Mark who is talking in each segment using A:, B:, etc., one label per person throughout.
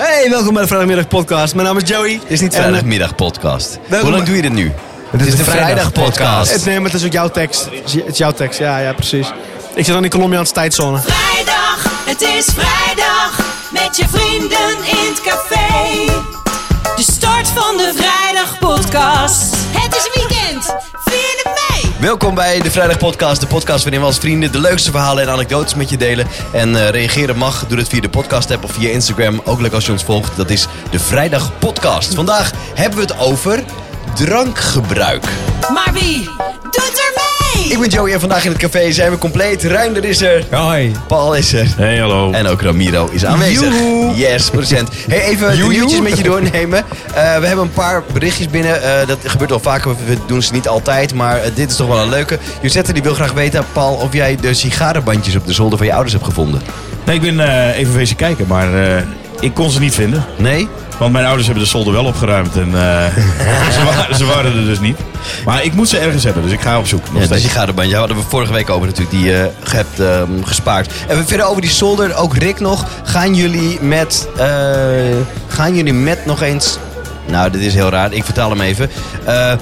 A: Hey, welkom bij de Vrijdagmiddag Podcast. Mijn naam is Joey.
B: Dit is niet
A: En, eh,
B: vrijdagmiddag podcast.
A: welkom-
B: Hoe lang doe je dit nu?
C: Dit
B: is de vrijdagpodcast.
A: eh, Het, nee, maar het is ook jouw tekst. Het is- het is jouw tekst, ja, ja, precies. Ik zit aan die Colombiaanse tijdzone.
D: Vrijdag, het is vrijdag. Met je vrienden in het café. De start van de Vrijdag Podcast. Het is weekend. Vier het mee.
B: Welkom bij de Vrijdag Podcast. De podcast waarin we als vrienden de leukste verhalen en anekdotes met je delen. En eh, reageren mag, doe dat via de podcast app of via Instagram. Ook leuk als je ons volgt. Dat is de Vrijdag Podcast. Vandaag hebben we het over drankgebruik.
D: Maar wie doet er mee?
B: Ik ben Joey en vandaag in het café zijn we compleet. Ruinder is er.
C: Hoi.
B: Paul is er.
E: Hey, hallo.
B: En ook Ramiro is aanwezig.
A: Joehoe.
B: Yes, procent. Hey, even de
C: Joejoe.
B: nieuwtjes met je doornemen. Eh, we hebben een paar berichtjes binnen. Eh, dat gebeurt wel vaker. We- We doen ze niet altijd. Maar eh, dit is toch wel een leuke. Josette die wil graag weten, Paul, of jij de sigarenbandjes op de zolder van je ouders hebt gevonden.
E: Nee, ik ben eh, even wezen kijken, maar eh, ik kon ze niet vinden.
B: Nee?
E: Want mijn ouders hebben de zolder wel opgeruimd en eh, ze, waren, ze waren er dus niet. Maar ik moet ze ergens hebben, dus ik ga op zoek. Nog
B: Ja, de
E: steeds.
B: sigarenbandjes. Hadden we vorige week over natuurlijk. Die eh, je hebt ehm, gespaard. En we verder over die zolder. Ook Rick nog. Gaan jullie met... eh, gaan jullie met nog eens... Nou, dit is heel raar. Ik vertaal hem even. Eh,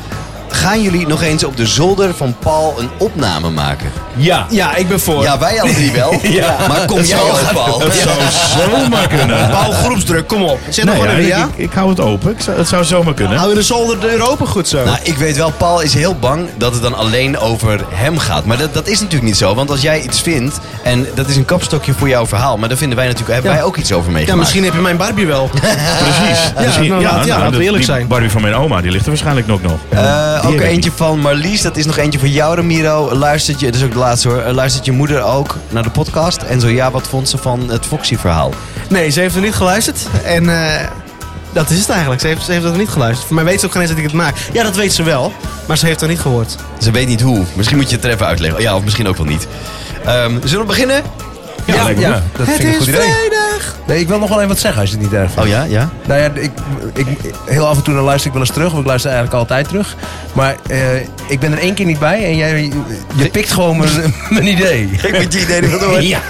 B: gaan jullie nog eens op de zolder van Paul een opname maken?
E: ja.
A: Ja, ik ben voor.
B: Ja, wij alle drie wel.
E: Ja.
B: Maar kom jij ook, Paul?
E: Het zou zomaar kunnen.
A: Paul, groepsdruk, kom op. Zet nog
E: Nou
A: gewoon
E: ja,
A: even, ja?
E: ik, ik, ik hou het open. Ik zou- het zou zomaar kunnen.
A: Hou je de zolder de deur open goed zo?
B: Nou, ik weet wel, Paul is heel bang dat het dan alleen over hem gaat. Maar dat, dat is natuurlijk niet zo. Want als jij iets vindt, en dat is een kapstokje voor jouw verhaal... maar daar vinden wij natuurlijk, hebben wij ook iets over meegemaakt.
A: ja, misschien heb je mijn Barbie wel.
E: Precies. Dus Misschien-
A: nou, laat- ja, laten we
E: dat-
A: eerlijk
E: die
A: zijn.
E: Barbie van mijn oma, die ligt er waarschijnlijk nog nog.
B: Eh,
E: Die
B: ook
E: heb ik
B: eentje van Marlies, dat is nog eentje van jou, Ramiro. Luistert je, dat is ook de laatste hoor, Eh, luistert je moeder ook naar de podcast? En zo ja, wat vond ze van het Foxy-verhaal?
A: Nee, ze heeft er niet geluisterd. En eh, dat is het eigenlijk. Ze heeft, ze heeft er niet geluisterd. Voor mij weet ze ook geen eens dat ik het maak. Ja, dat weet ze wel. Maar ze heeft er niet gehoord.
B: Ze weet niet hoe. Misschien moet je het er even uitleggen. Ja, of misschien ook wel niet. Ehm, zullen we beginnen?
E: Ja, lijkt me goed.
C: dat vind ik een goed idee. Nee, ik wil nog wel even wat zeggen als je het niet erg vindt.
B: Oh ja, ja.
C: Nou ja, ik, ik, heel af en toe dan luister ik wel eens terug, want ik luister eigenlijk altijd terug. Maar eh, ik ben er één keer niet bij en jij, je pikt gewoon mijn, mijn idee.
B: Ik moet je idee niet door.
C: Ja.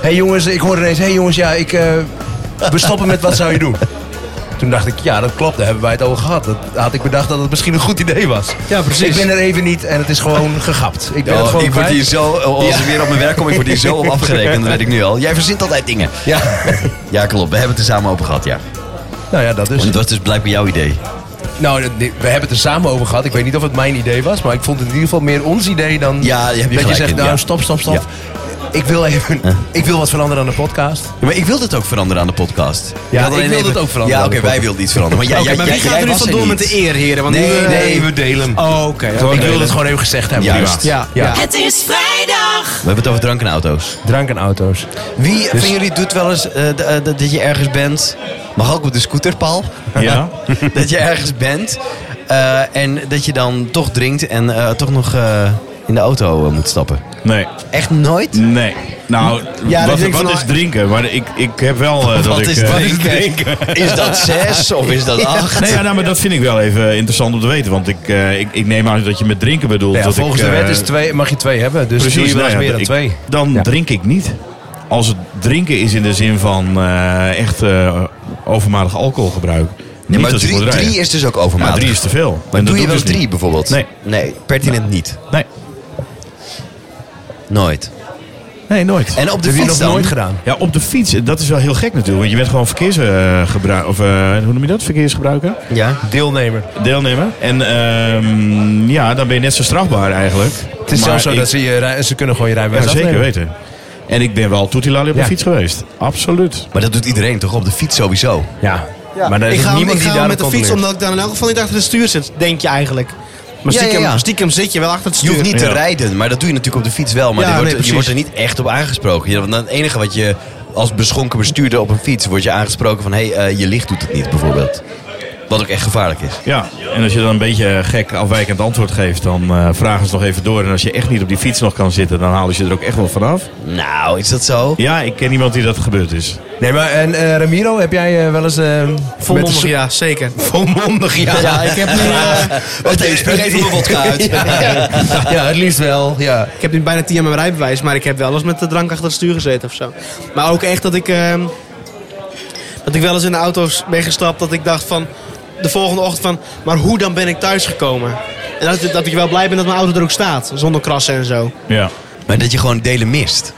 C: hey jongens, ik hoorde ineens, hey jongens, ja, ik, eh, we stoppen met wat zou je doen? Toen dacht ik, ja, dat klopt, daar hebben wij het over gehad. Dat had ik bedacht dat het misschien een goed idee was.
A: Ja, precies.
C: Ik ben er even niet en het is gewoon gegapt. Ik ben het
B: Oh,
C: gewoon
B: ik word
C: kwijt.
B: hier zo, als ik weer op mijn werk kom, ik word hier zo op afgerekend. Dat weet ik nu al. Jij verzint altijd dingen.
C: Ja,
B: Ja, klopt. We hebben het er samen over gehad, ja.
C: nou ja, dat dus.
B: Want het was dus blijkbaar jouw idee.
C: Nou, dat- we hebben het er samen over gehad. Ik weet niet of het mijn idee was, maar ik vond het in ieder geval meer ons idee dan
B: Ja, daar heb je
C: dat je
B: gelijk
C: zegt,
B: in,
C: nou
B: ja.
C: stop, stop, stop. Ik wil even, ik wil wat veranderen aan de podcast.
B: Ja, maar ik wilde het ook veranderen aan de podcast.
C: Ja,
B: had
C: ik
B: alleen
C: wilde het ook
B: Ja,
C: veranderen aan
B: oké,
C: de
B: wij wilden iets veranderen. Maar, jij,
A: Oké,
B: jij,
A: maar wie
B: jij-
A: gaat
B: jij
A: er nu
B: was
A: vandoor met
B: niet.
A: de eer, heren? Want
B: Nee,
A: nu, eh,
B: nee, we
C: delen.
A: Oh, oké. ja.
C: ik wilde het gewoon even gezegd hebben.
B: Juist.
A: Ja, ja.
D: Het is vrijdag.
B: We hebben het over Dus- drank en auto's.
C: Drank en auto's.
B: Wie van jullie doet wel eens eh, d- eh, dat dat je ergens bent... Mag ook op de scooter, Paul.
E: Ja.
B: dat je ergens bent eh, en dat je dan toch drinkt en eh, toch nog eh, in de auto eh, moet stappen.
E: Nee.
B: Echt nooit?
E: Nee. Nou,
A: Ja, dat
E: wat,
A: denk ik
E: wat
A: van,
E: is
A: oh,
E: drinken? Maar ik, ik heb wel eh, dat
B: Wat
E: ik...
B: is
E: eh,
B: drinken? Is dat zes of is dat acht?
E: Nee, ja, nou, maar dat vind ik wel even interessant om te weten. Want ik, eh, ik, ik neem aan dat je met drinken bedoelt.
C: Ja,
E: dat
C: volgens
E: ik,
C: de
E: eh,
C: wet is twee, mag je twee hebben. Dus doe je wel eens
E: nou ja,
C: meer dan
E: ik-
C: twee.
E: Dan
C: Ja.
E: drink ik niet. Als het drinken is in de zin van eh, echt eh, overmatig alcoholgebruik.
B: Nee,
E: niet
B: maar
E: als ik
B: drie,
E: moet rijden.
B: drie is dus ook
E: Ja,
B: overmatig.
E: drie is te veel. En
B: Maar
E: dat
B: doe je
E: ik
B: wel eens
E: dus
B: drie
E: niet.
B: bijvoorbeeld?
E: Nee.
B: Nee, pertinent niet.
E: Nee.
B: Nooit.
E: nee, nooit.
B: En op de
C: heb je
B: fiets
C: nog
B: dan?
C: nooit gedaan?
E: Ja, op de fiets, dat is wel heel gek natuurlijk. Want je bent gewoon verkeersgebruiker. Of eh, hoe noem je dat? Verkeersgebruiker?
B: Ja.
C: Deelnemer.
E: Deelnemer. En ehm, ja, dan ben je net zo strafbaar eigenlijk.
C: Het is zelfs zo dat ze, je, rij- ze kunnen gewoon je rijbewijs
E: Ja, zeker
C: afnemen.
E: weten. En ik ben wel toetilali op de
C: Ja.
E: fiets geweest. Absoluut.
B: Maar dat doet iedereen toch op de fiets sowieso?
C: Ja.
A: Ja,
C: Maar er
A: ik
C: is
A: ga,
C: niemand
A: ik
C: die
A: ga
C: daar
A: met de fiets,
C: controleert.
A: omdat ik daar in elk geval niet achter het stuur zit, denk je eigenlijk. Maar
B: Ja, ja,
A: stiekem,
B: ja.
A: stiekem zit je wel achter het
B: Je
A: stuur.
B: hoeft niet te
E: Ja.
B: rijden, maar dat doe je natuurlijk op de fiets wel. Maar
A: Ja,
B: je, wordt,
A: nee,
B: je
A: precies.
B: wordt er niet echt op aangesproken. Je, want dan het enige wat je als beschonken bestuurder op een fiets... wordt je aangesproken van... hé, hey, eh, je licht doet het niet bijvoorbeeld. Wat ook echt gevaarlijk is.
E: Ja, en als je dan een beetje gek afwijkend antwoord geeft, dan eh, vragen ze nog even door. En als je echt niet op die fiets nog kan zitten, dan halen ze je er ook echt wel vanaf.
B: Nou, is dat zo?
E: Ja, ik ken iemand die dat gebeurd is.
C: Nee, maar en eh, Ramiro, heb jij eh, wel eens... eh, met
A: Volmondig,
C: de so-
A: ja, zeker.
C: Volmondig, ja.
B: Ja, ik
A: heb nu, eh,
B: Wacht even, spreek even mijn vodka uit.
C: Ja, het liefst wel. Ja.
A: Ik heb nu bijna 10 jaar mijn rijbewijs, maar ik heb wel eens met de drank achter het stuur gezeten of zo. Maar ook echt dat ik. ehm, Dat ik wel eens in de auto's ben gestapt dat ik dacht van de volgende ochtend van, maar hoe dan ben ik thuisgekomen? En dat, dat ik wel blij ben dat mijn auto er ook staat, zonder krassen en zo.
E: Ja.
B: Maar dat je gewoon delen mist.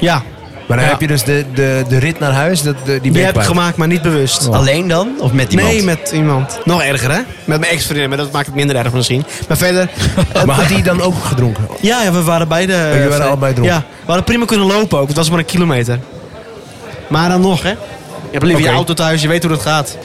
A: Ja,
C: Maar dan
A: Ja.
C: heb je dus de, de, de rit naar huis, dat, de, die
A: die
C: ben
A: heb ik gemaakt, maar niet bewust.
B: Alleen dan? Of met iemand?
A: Nee, met iemand. Nog erger, hè? Met mijn ex-vriendin, maar dat maakt het minder erg misschien. Maar verder...
C: Maar had hij dan ook gedronken?
A: ja, ja, we waren beide... eh,
C: jullie waren
A: vrij-
C: allebei dronken.
A: Ja, we hadden prima kunnen lopen ook. want Het was maar een kilometer. Maar dan nog, hè? Je hebt liever
C: Oké.
A: je auto thuis, je weet hoe dat gaat.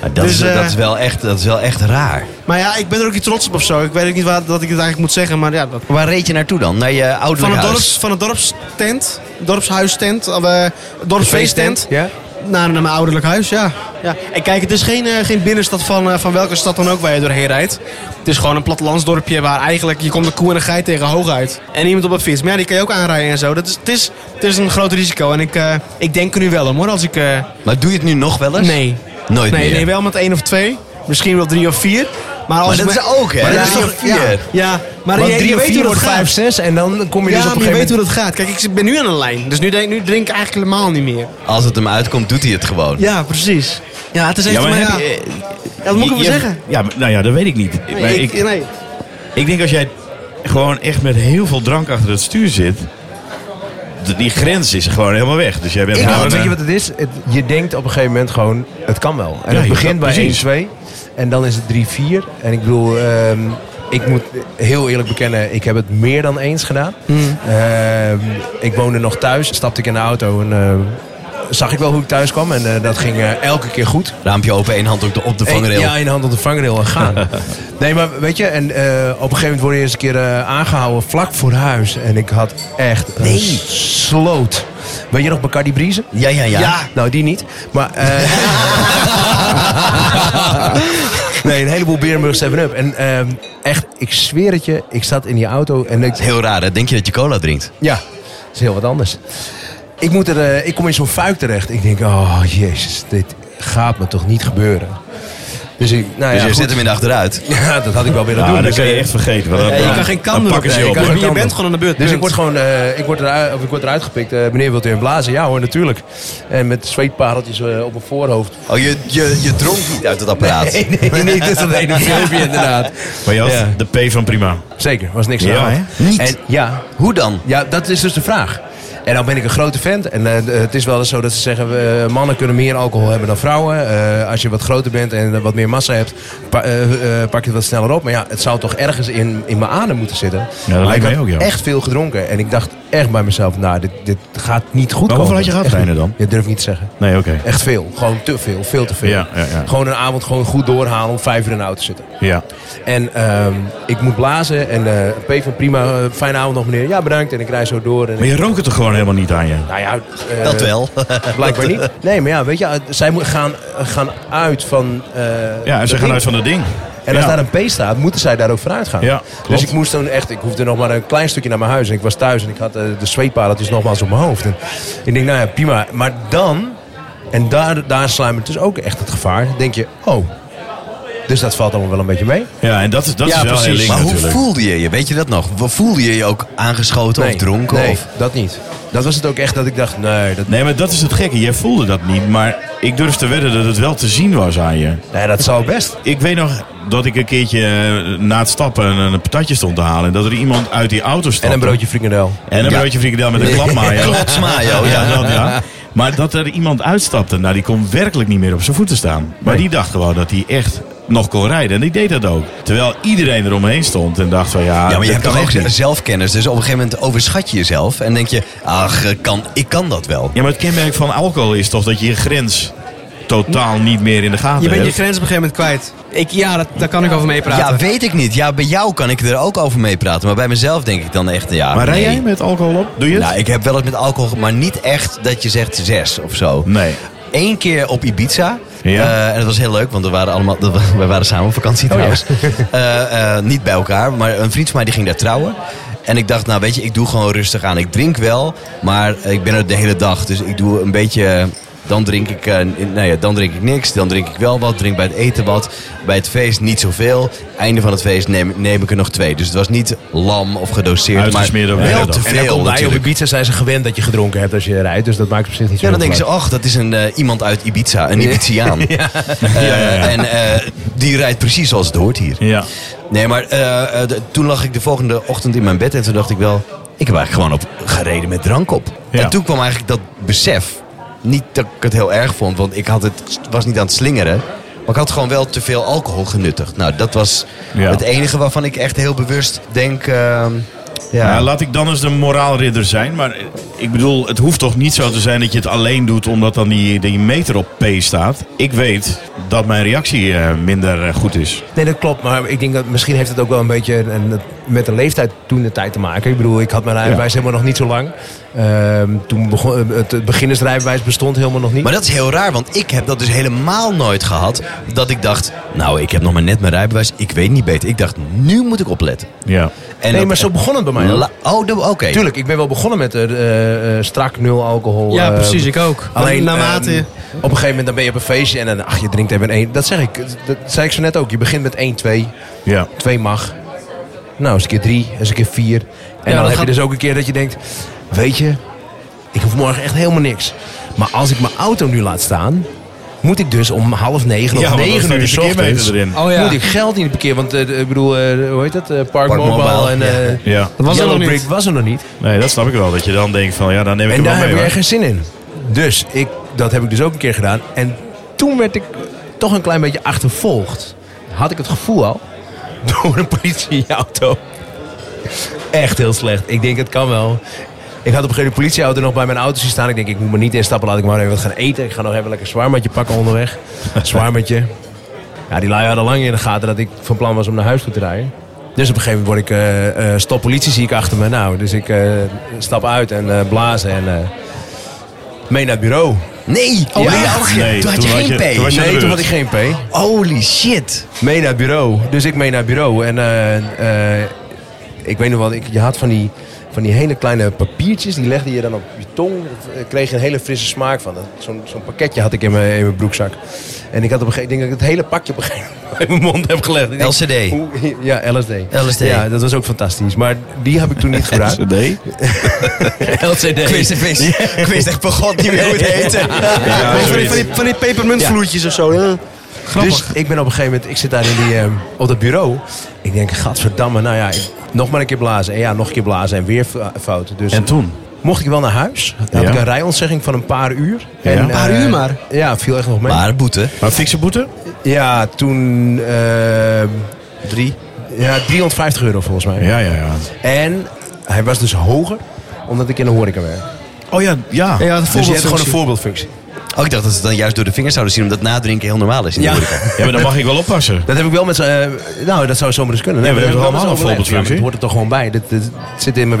B: Maar dat,
A: Dus,
B: is,
A: eh,
B: dat, is wel echt, dat is wel echt raar.
A: Maar ja, ik ben er ook niet trots op of zo. Ik weet ook niet waar, dat ik het eigenlijk moet zeggen, maar ja... Dat...
B: Waar reed je naartoe dan? Naar je
A: Van
B: ouderlijk
A: een,
B: huis?
A: dorps, van een dorpstent, dorpshuistent, of eh, dorpsfeesttent,
C: Ja?
A: naar, naar mijn ouderlijk huis, ja. ja. En kijk, het is geen, eh, geen binnenstad van, eh, van welke stad dan ook waar je doorheen rijdt. Het is gewoon een plattelandsdorpje waar eigenlijk je komt de koe en de geit tegen hooguit. En iemand op een fiets. Maar ja, die kan je ook aanrijden en zo. Dat is, het, is, het is een groot risico en ik, eh, ik denk er nu wel om hoor, als ik... eh,
B: Maar doe je het nu nog wel eens?
A: nee.
B: Nooit
A: Nee,
B: meer.
A: nee, wel met één of twee. Misschien wel drie of vier. Maar, als
B: Maar dat
A: me-
B: is ook, hè?
A: Maar
B: dat
A: ja,
B: is toch
A: ja,
B: vier?
A: Ja, maar
C: Want
A: je,
C: drie
A: je
C: of
A: weet
C: vier
A: hoe dat
C: wordt
A: gaat.
C: vijf, zes en dan kom je
A: Ja,
C: dus op een
A: maar je
C: gegeven
A: weet hoe
C: moment...
A: dat gaat. Kijk, ik ben nu aan een lijn. Dus nu, denk- nu drink ik eigenlijk helemaal niet meer.
B: Als het hem uitkomt, doet hij het gewoon.
A: Ja, precies. Ja, het is
E: Ja,
A: even...
E: maar
A: maar
E: heb
A: ja.
E: je-
A: Ja, dat moet ik wel
E: je- je-
A: zeggen.
E: Ja, maar- nou ja, dat weet ik niet. Maar
A: Nee,
E: ik,
A: ik, nee.
E: Ik denk als jij gewoon echt met heel veel drank achter het stuur zit, d- die grens is gewoon helemaal weg. Dus jij bent
C: Ik
E: gewoon,
C: had- weet
E: eh,
C: je wat het is? Het- je denkt op een gegeven moment gewoon, het kan wel. En
E: Ja,
C: het
E: je-
C: begint bij
E: precies.
C: 1, 2. En dan is het 3, 4. En ik bedoel, ehm, ik moet heel eerlijk bekennen, ik heb het meer dan eens gedaan.
A: Hmm.
C: Ehm, ik woonde nog thuis, stapte ik in de auto en ehm, zag ik wel hoe ik thuis kwam. En eh, dat ging eh, elke keer goed.
B: Raampje open, één hand op de, op de vangrail.
C: Ja, in hand op de vangrail en gaan. nee, maar weet je, en, eh, op een gegeven moment word je eens een keer eh, aangehouden vlak voor huis. En ik had echt een sloot. Weet je nog Bacardi Briezen?
B: ja, ja. ja.
C: Ja, nou die niet. Maar. eh, nee, een heleboel Berenburg 7-Up. En ehm, echt, ik zweer het je, ik zat in die auto en ik.
B: Het is heel raar, hè? Denk je dat je cola drinkt? Dus
C: Ja, dat is heel wat anders. Ik, moet er, eh, ik kom in zo'n fuik terecht. Ik denk, oh jezus, dit gaat me toch niet gebeuren. Dus ik, nou
B: Dus
C: ja,
B: je
C: goed.
B: zet hem in de achteruit.
C: Ja, dat had ik wel willen
E: nou,
C: doen.
E: dat
C: Dus,
E: kan je
C: eh,
E: echt vergeten. want dan-
A: je
E: dan-
A: kan geen
E: dan
A: kant meer op.
E: pakken ze je
C: Nee,
E: op.
C: ik kan
E: hoor.
C: geen
A: Je
C: kant
A: bent
C: op.
A: gewoon aan de beurt.
C: Dus
A: punt.
C: ik word gewoon, eh, ik word, eruit, of ik word eruit gepikt. Eh, meneer, wilt u een blazen? Ja hoor, natuurlijk. En met zweetpareltjes eh, op mijn voorhoofd.
B: Oh, je, je, je dronk niet uit het apparaat.
C: Nee, nee, nee, dat is dat ene filmpje inderdaad.
E: Maar je had
C: Ja.
E: de P van prima.
C: Zeker, was niks
E: Ja,
C: aan. de hand.
E: hè?
B: Niet.
C: En, ja,
B: Hoe dan?
C: ja, dat is dus de vraag. En dan ben ik een grote vent. En eh, het is wel eens zo dat ze zeggen, eh, mannen kunnen meer alcohol hebben dan vrouwen. Eh, als je wat groter bent en wat meer massa hebt, pa- eh, eh, pak je het wat sneller op. Maar ja, het zou toch ergens in, in mijn adem moeten zitten.
E: dat
C: Maar
E: lijkt
C: ik
E: mij
C: had
E: ook, ja.
C: echt veel gedronken. En ik dacht echt bij mezelf, nou, dit, dit gaat niet goed
E: Maar
C: komen.
E: hoeveel had je gehad,
C: Echt
E: Reiner,
C: niet.
E: dan?
C: Dat durf ik niet te zeggen.
E: Nee, oké.
C: Echt veel. Gewoon te veel. Veel te veel.
E: Ja, ja, ja.
C: Gewoon een avond gewoon goed doorhalen om vijf uur in de auto te zitten.
E: Ja.
C: En ehm, ik moet blazen en eh P van prima, eh, fijne avond nog meneer. Ja, bedankt. En ik rij zo door. En
E: Maar
C: ik-
E: je rookt het toch gewoon helemaal niet aan je?
C: nou ja, eh,
B: Dat wel.
C: Blijkbaar niet. Nee, maar ja, weet je, eh, zij moet- gaan, eh, gaan uit van... eh,
E: Ja, en
C: dat
E: ze gaan
C: ding.
E: uit van dat ding.
C: En als daar een P staat, moeten zij daar ook vooruit gaan.
E: Ja, klopt.
C: dus ik moest toen echt, ik hoefde nog maar een klein stukje naar mijn huis. En ik was thuis en ik had eh, de zweetpareltjes nogmaals op mijn hoofd. En ik denk, nou ja, prima. Maar dan, en daar, daar sluimert dus ook echt het gevaar. Denk je, oh, dus dat valt allemaal wel een beetje mee.
E: Ja, en dat, is- dat
C: Ja,
E: is wel
C: precies.
E: heel link
B: Maar hoe
E: natuurlijk.
B: voelde je je? Weet je dat nog? Voelde je je ook aangeschoten of dronken?
C: Nee,
B: Of...
C: dat niet. Dat was het ook echt dat ik dacht, nee, dat,
E: Nee, maar dat is het gekke. Jij voelde dat niet, maar ik durf te wedden dat het wel te zien was aan je.
C: nee, dat zou best.
E: Ik weet nog dat ik een keertje eh, na het stappen een, een patatje stond te halen. En dat er iemand uit die auto stapte.
C: En een broodje frikandel.
E: En een
B: Ja.
E: broodje frikandel met een klapmajo.
B: Klapsmajo, ja.
E: dat, ja. Maar dat er iemand uitstapte, nou die kon werkelijk niet meer op zijn voeten staan. Maar die dacht gewoon dat hij echt nog kon rijden. En die deed dat ook. Terwijl iedereen eromheen stond en dacht van ja,
B: Ja, maar
E: dit
B: je hebt
E: kan
B: toch ook
E: echt niet.
B: zelfkennis. Dus op een gegeven moment overschat je jezelf. En denk je, ach, eh, kan, ik kan dat wel.
E: Ja, maar het kenmerk van alcohol is toch dat je je grens totaal niet meer in de gaten
A: Je bent je
E: hebt.
A: grens op een gegeven moment kwijt. Ik, ja, dat, daar kan ik over meepraten.
B: Ja, weet ik niet. Ja, bij jou kan ik er ook over meepraten. Maar bij mezelf denk ik dan echt, ja,
E: Maar rij
B: nee.
E: jij met alcohol op? Doe je het?
B: Nou, ik heb wel eens met alcohol, maar niet echt dat je zegt zes of zo.
E: Nee.
B: Eén keer op Ibiza.
E: Ja. Oh
B: Eh, en dat was heel leuk, want we waren, allemaal, dat wa- wij waren samen op vakantie trouwens. Eh, eh, niet bij elkaar, maar een vriend van mij die ging daar trouwen. En ik dacht, nou weet je, ik doe gewoon rustig aan. Ik drink wel, maar ik ben er de hele dag. Dus ik doe een beetje Dan drink ik, eh, n- nou ja, dan drink ik niks. Dan drink ik wel wat. Drink bij het eten wat. Bij het feest niet zoveel. Einde van het feest neem, neem ik er nog twee. Dus het was niet lam of gedoseerd. Maar
E: Uitgesmeerd op de
B: wel
E: hele dag.
B: te
E: En
C: En dan
B: veel
C: komt bij op
B: natuurlijk.
C: Ibiza zijn ze gewend dat je gedronken hebt als je rijdt. Dus dat maakt op zich niet zo
B: Ja, dan denken ze, ach, dat is een, eh, iemand uit Ibiza. Een Ibiziaan. Eh, En eh, die rijdt precies zoals het hoort hier.
E: Ja.
B: Nee, maar eh, eh, de- toen lag ik de volgende ochtend in mijn bed en toen dacht ik wel, ik heb eigenlijk gewoon op gereden met drank op.
E: Ja.
B: En toen kwam eigenlijk dat besef. Niet dat ik het heel erg vond, want ik had het, was niet aan het slingeren. Maar ik had gewoon wel te veel alcohol genuttigd. Nou, dat was
E: Ja.
B: het enige waarvan ik echt heel bewust denk. ehm, ja.
E: Nou, laat ik dan eens de moraalridder zijn. Maar eh, ik bedoel, het hoeft toch niet zo te zijn dat je het alleen doet omdat dan die, die meter op P staat. Ik weet dat mijn reactie eh, minder eh, goed is.
C: Nee, dat klopt. Maar ik denk dat misschien heeft het ook wel een beetje een- een- met de leeftijd toen de tijd te maken. Ik bedoel, ik had mijn rijbewijs helemaal nog niet zo lang. Ehm, toen begon, het het beginnersrijbewijs bestond helemaal nog niet.
B: Maar dat is heel raar, want ik heb dat dus helemaal nooit gehad. Dat ik dacht, nou, ik heb nog maar net mijn rijbewijs. Ik weet niet beter. Ik dacht, nu moet ik opletten.
E: Ja.
B: En
C: nee,
B: dat-
C: maar zo begon het bij mij. ook.
B: La- oh, de- oké.
C: Tuurlijk, ik ben wel begonnen met eh eh, strak nul alcohol.
A: Ja,
C: eh,
A: precies, ik ook.
C: Alleen
A: Naarmate
E: eh,
C: ehm,
A: je-
C: op een gegeven moment dan ben je op een feestje en dan, ach, je drinkt even één. Dat zeg ik, dat zei ik zo net ook. Je begint met één, twee.
E: Ja.
C: Twee mag. Nou, eens een keer drie, eens een keer vier. En dan
A: dat
C: heb
A: gaat-
C: je dus ook een keer dat je denkt... Weet je, ik hoef morgen echt helemaal niks. Maar als ik mijn auto nu laat staan... moet ik dus om half negen of
E: Ja, want dan
C: negen
E: staat
C: uur
E: die
C: s
E: parkeermeter
C: ochtends...
E: erin.
A: Oh ja.
C: moet ik geld in het parkeer... want eh, de- ik bedoel, eh, hoe heet dat? Eh, Park,
B: Park
C: Mobile,
B: Mobile,
C: en...
B: ja.
C: eh,
E: Ja.
A: Dat was er
C: Yellow
A: nog
C: Brick
A: niet.
C: was er nog niet.
E: Nee, dat snap ik wel. Dat je dan denkt van, ja, dan neem ik hem
C: En daar
E: wel
C: heb
E: mee.
C: je
E: hoor.
C: echt geen zin in. Dus ik, dat heb ik dus ook een keer gedaan. En toen werd ik toch een klein beetje achtervolgd. Had ik het gevoel al. Door een politieauto. Echt heel slecht. Ik denk, het kan wel. Ik had op een gegeven moment de politieauto nog bij mijn auto zien staan. Ik denk, ik moet me niet instappen. Laat ik maar even wat gaan eten. Ik ga nog even lekker een zwaarmatje pakken onderweg. Een zwaarmatje. Ja, die lui hadden lang in de gaten dat ik van plan was om naar huis toe te rijden. Dus op een gegeven moment word ik, eh, eh, stop politie zie ik achter me. Nou, dus ik eh, stap uit en eh, blazen en eh, mee naar het bureau.
B: Nee, oh,
C: Ja.
B: nee, oh, ge-
E: Nee,
B: toen had je
E: toen had
B: geen
E: je-
B: P.
E: toen was je- aan de
C: Nee, toen had
E: beurt?
C: ik geen P.
B: Holy shit.
C: Mee naar het bureau. Dus ik mee naar het bureau. En eh, eh, ik weet nog wel, ik, je had van die, van die hele kleine papiertjes. Die legde je dan op je tong. Dat eh, kreeg je een hele frisse smaak van. Dat- Zo'n zo'n pakketje had ik in mijn, in mijn broekzak. En ik had op een gegeven moment, ik denk dat ik het hele pakje op een gegeven moment in mijn mond heb gelegd. Ik denk,
B: LCD.
C: hoe- Ja, LSD.
B: LSD.
C: Ja, dat was ook fantastisch. Maar die heb ik toen niet gebruikt.
E: Nee.
B: Ik wist, ik wist- ik wist echt per god niet meer hoe het heette.
E: Ja,
A: van, die,
E: zoiets.
A: van, die, van die pepermuntvloertjes of zo. Ja.
C: Dus ik ben op een gegeven moment, ik zit daar in die, eh, op dat bureau. Ik denk, gadverdamme, nou ja, ik- nog maar een keer blazen. En ja, nog een keer blazen en weer fa- fouten. Dus
E: En toen?
C: mocht ik wel naar huis. Dan
E: Ja.
C: had ik een rijontzegging van een paar uur.
E: Ja. Een
A: paar
C: eh,
A: uur maar?
C: Ja, viel echt nog mee.
B: Maar boete.
E: Maar fikse boete?
C: Ja, toen... drie? Ja, 350 euro volgens mij.
E: Ja, ja, ja.
C: En hij was dus hoger, omdat ik in de horeca werk.
E: Oh ja, ja.
A: Ja, de
C: Dus je hebt gewoon een
A: voorbeeldfunctie.
C: voorbeeldfunctie.
B: Oh, ik dacht dat ze het dan juist door de vingers zouden zien... omdat nadrinken heel normaal is in de
C: Ja.
B: horeca.
E: Ja, maar dan mag ik wel oppassen.
C: Dat heb ik wel met z'n... eh, nou, dat zou zomaar eens kunnen.
E: Ja, we hebben
C: dat
E: allemaal
C: met z'n
E: een
C: overlegd.
E: voorbeeldfunctie.
C: Ja, maar dat hoort er toch gewoon bij. Dit, dit zit in mijn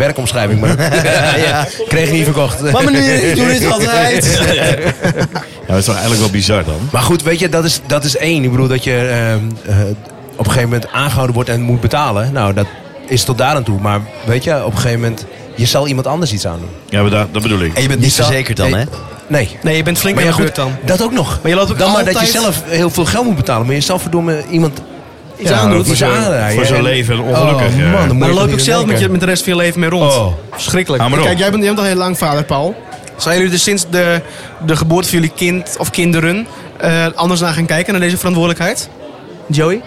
C: werkomschrijving. Maar ja, kreeg niet verkocht.
B: Maar meneer, ik doe dit altijd.
E: Ja, dat is toch eigenlijk wel bizar dan?
C: Maar goed, weet je, dat is, dat is één. Ik bedoel, dat je ehm, eh, op een gegeven moment aangehouden wordt en moet betalen. Nou, dat is tot daar aan toe. Maar weet je, op een gegeven moment... Je zal iemand anders iets aandoen.
E: Ja, maar daar- dat bedoel ik.
B: En je bent niet
C: zal-
B: verzekerd dan,
C: Nee.
B: hè?
C: Nee.
A: Nee, je bent flink
C: Maar
A: aan
C: ja,
A: de beurt
C: goed,
A: dan.
C: dat ook nog.
A: Maar je loopt ook
C: dan maar dat
A: altijd-
C: je zelf heel veel geld moet betalen. Maar je zal verdomme iemand iets
E: Ja,
C: aandoen.
E: voor
C: iets
E: zo'n-
C: aanrijden.
E: voor zo'n
C: En-
E: leven ongelukkig, eh.
C: Oh,
E: ja.
C: man, dan moet
A: Maar
C: je
A: dan
C: toch
A: loop ik
C: niet
A: zelf
C: aan
A: met, je,
C: denken.
A: met de rest van je leven mee rond.
E: Oh.
A: Verschrikkelijk.
E: Ga maar op.
A: Kijk, jij bent, jij bent al heel lang vader, Paul. Zijn jullie dus sinds de, de geboorte van jullie kind of kinderen eh, anders naar gaan kijken, naar deze verantwoordelijkheid? Joey?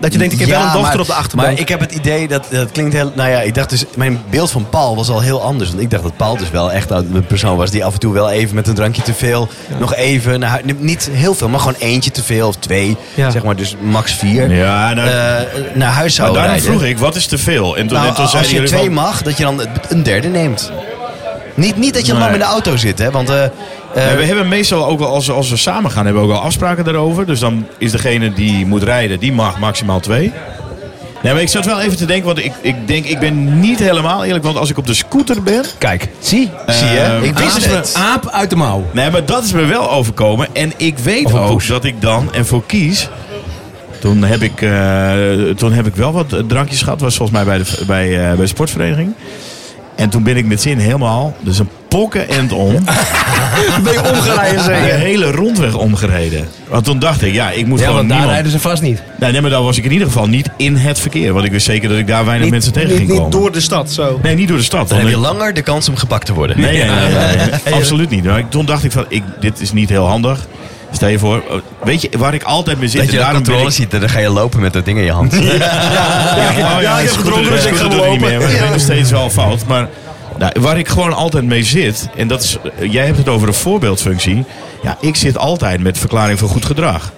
A: Dat je denkt, ik heb wel een dochter
B: maar-
A: op de achterbank.
B: Maar ik heb het idee dat dat klinkt heel. Nou ja, ik dacht dus. Mijn beeld van Paul was al heel anders. Want ik dacht dat Paul dus wel echt een persoon was die af en toe wel even met een drankje te veel. Nog even. naar hu- niet heel veel, maar gewoon eentje te veel of twee.
A: Ja.
B: Zeg maar, dus max vier.
E: Ja, nou,
B: eh, naar huis zou
E: maar daarom
B: rijden.
E: vroeg ik, wat is te veel? En toen,
B: Nou,
E: en toen
B: als
E: zeiden
B: je
E: jullie
B: twee
E: van,
B: mag, dat je dan een derde neemt. Niet, niet dat je
E: Nee.
B: lang in de auto zit, hè? Want. eh, eh,
E: Nee, we hebben meestal ook wel, als, we- als we samen gaan, hebben we ook al afspraken daarover. Dus dan is degene die moet rijden, die mag maximaal twee. Nee, maar ik zat wel even te denken, want ik, ik denk, ik ben niet helemaal eerlijk. Want als ik op de scooter ben...
C: Kijk, zie. Ah,
B: zie je?
E: eh,
B: ik wist
E: aan-
B: het.
C: Een aap uit de mouw.
E: Nee, maar dat is me wel overkomen. En ik weet
C: Of een
E: ook
C: poes.
E: dat ik dan ervoor kies. Toen heb ik, eh, toen heb ik wel wat drankjes gehad. was volgens mij bij de bij, eh, bij de sportvereniging. En toen ben ik met zin helemaal, dus een pokken end om,
A: Ben je omgereden
E: de
A: zeker?
E: hele rondweg omgereden. Want toen dacht ik, ja, ik moet
C: Ja,
E: gewoon
C: want daar
E: niemand...
C: rijden ze vast niet.
E: Nee, nee, maar daar was ik in ieder geval niet in het verkeer. Want ik wist zeker dat ik daar weinig mensen tegen
A: niet,
E: ging
A: niet
E: komen.
A: door de stad, zo.
E: Nee, niet door de stad.
B: Dan
E: want
B: heb je
E: ik-
B: langer de kans om gepakt te worden.
E: Nee, nee, nee, nee, nee. absoluut niet. Maar ik- toen dacht ik van, ik, dit is niet heel handig. Stel je voor, eh, weet je waar ik altijd mee zit?
B: Dat je
E: en
B: daar
E: daarom ben
B: controle
E: ik-
B: ziet en dan ga je lopen met dat ding in je hand.
E: Ja, oh ja,
A: ja, ik heb
E: scooter-
A: gedronken, dus ik
E: scooter
A: ga
E: doe niet
A: lopen.
E: meer, maar
A: Ja.
E: Ik ben nog steeds wel fout. Maar nou, waar ik gewoon altijd mee zit, en dat is, eh, jij hebt het over een voorbeeldfunctie. Ja, ik zit altijd met verklaring van goed gedrag.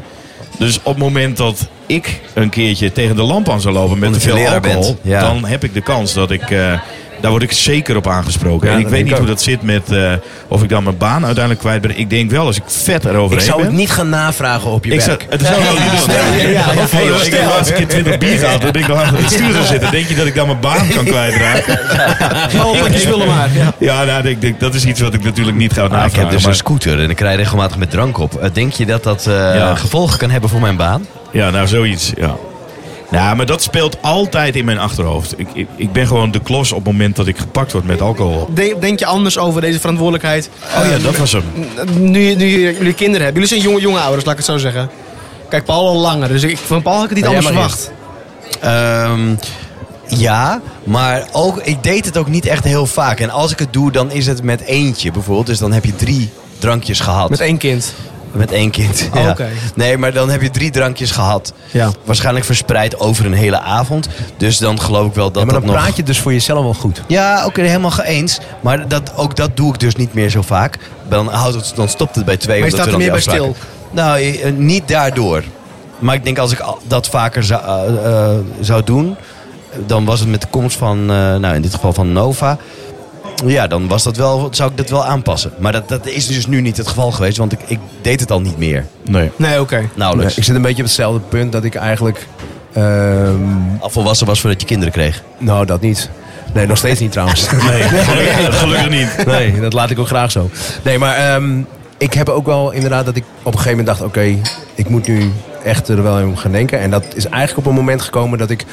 E: Dus op het moment dat ik een keertje tegen de lamp aan zou lopen met te
B: Omdat je
E: veel
B: leraar
E: alcohol,
B: bent, ja.
E: dan heb ik de kans dat ik. eh, daar word ik zeker op aangesproken.
C: Ja,
E: en ik
C: dat
E: weet
C: denk
E: niet
C: ik
E: hoe
C: ook.
E: dat zit met eh, of ik dan mijn baan uiteindelijk kwijt ben. Ik denk wel, als ik vet eroverheen
C: Ik zou
E: ben.
C: het niet gaan navragen op je
E: Ik
C: werk.
E: zou, het is wel heel niet doen.
A: ja, ja.
E: Hey, joh, ik heb de laatste keer 20 bier gehad. Dan ben ik nog achter het stuur gaan zitten. Denk je dat ik dan mijn baan kan kwijtraken?
A: Maalplekjes willen maar. Ja.
E: Ja, nou, ik denk, dat is iets wat ik natuurlijk niet ga
B: Maar ik
E: navragen.
B: heb dus
E: maar-
B: een scooter en ik rij regelmatig met drank op. Eh, Denk je dat dat eh,
E: Ja.
B: gevolgen kan hebben voor mijn baan?
E: Ja, nou, zoiets. Ja. Nou, maar dat speelt altijd in mijn achterhoofd. Ik, ik, ik ben gewoon de klos op het moment dat ik gepakt word met alcohol.
A: Denk, denk je anders over deze verantwoordelijkheid?
E: Oh ja,
A: eh,
E: dat was hem.
A: Nu, nu jullie kinderen hebben. Jullie zijn jonge, jonge ouders, laat ik het zo zeggen. Kijk, Paul al langer, dus ik, van Paul had ik het niet
C: Ja, jij
A: anders
C: mag
A: verwacht.
B: Ehm, ja, maar ook, ik deed het ook niet echt heel vaak. En als ik het doe, dan is het met eentje bijvoorbeeld. Dus dan heb je drie drankjes gehad.
A: Met één kind.
B: Met één kind.
A: Oh,
B: ja.
A: oké.
B: Nee, maar dan heb je drie drankjes gehad.
A: Ja.
B: Waarschijnlijk verspreid over een hele avond. Dus dan geloof ik wel dat
C: Ja, maar
B: dat
C: dan
B: nog...
C: praat je dus voor jezelf wel goed.
B: Ja, oké, helemaal geëens. Maar dat, ook dat doe ik dus niet meer zo vaak. Dan, houdt het, dan stopt het bij twee.
A: Maar je
B: omdat
A: staat er
B: we
A: meer
B: dan
A: bij
B: die afspraken- Nou, eh, niet daardoor. Maar ik denk als ik al- dat vaker zou, eh, eh, zou doen... dan was het met de komst van, eh, nou in dit geval van Nova... Ja, dan was dat wel, zou ik dat wel aanpassen. Maar dat, dat is dus nu niet het geval geweest, want ik, ik deed het al niet meer.
E: Nee.
A: Nee, oké.
B: Nauwelijks.
C: ik zit een beetje op hetzelfde punt dat ik eigenlijk... ehm,
B: Al volwassen was voordat je kinderen kreeg.
C: nou, dat niet. Nee, nog steeds niet trouwens.
E: Nee, gelukkig, gelukkig niet.
C: Nee, dat laat ik ook graag zo. Nee, maar ehm, ik heb ook wel inderdaad dat ik op een gegeven moment dacht... oké, ik moet nu echt er wel in gaan denken. En dat is eigenlijk op een moment gekomen dat ik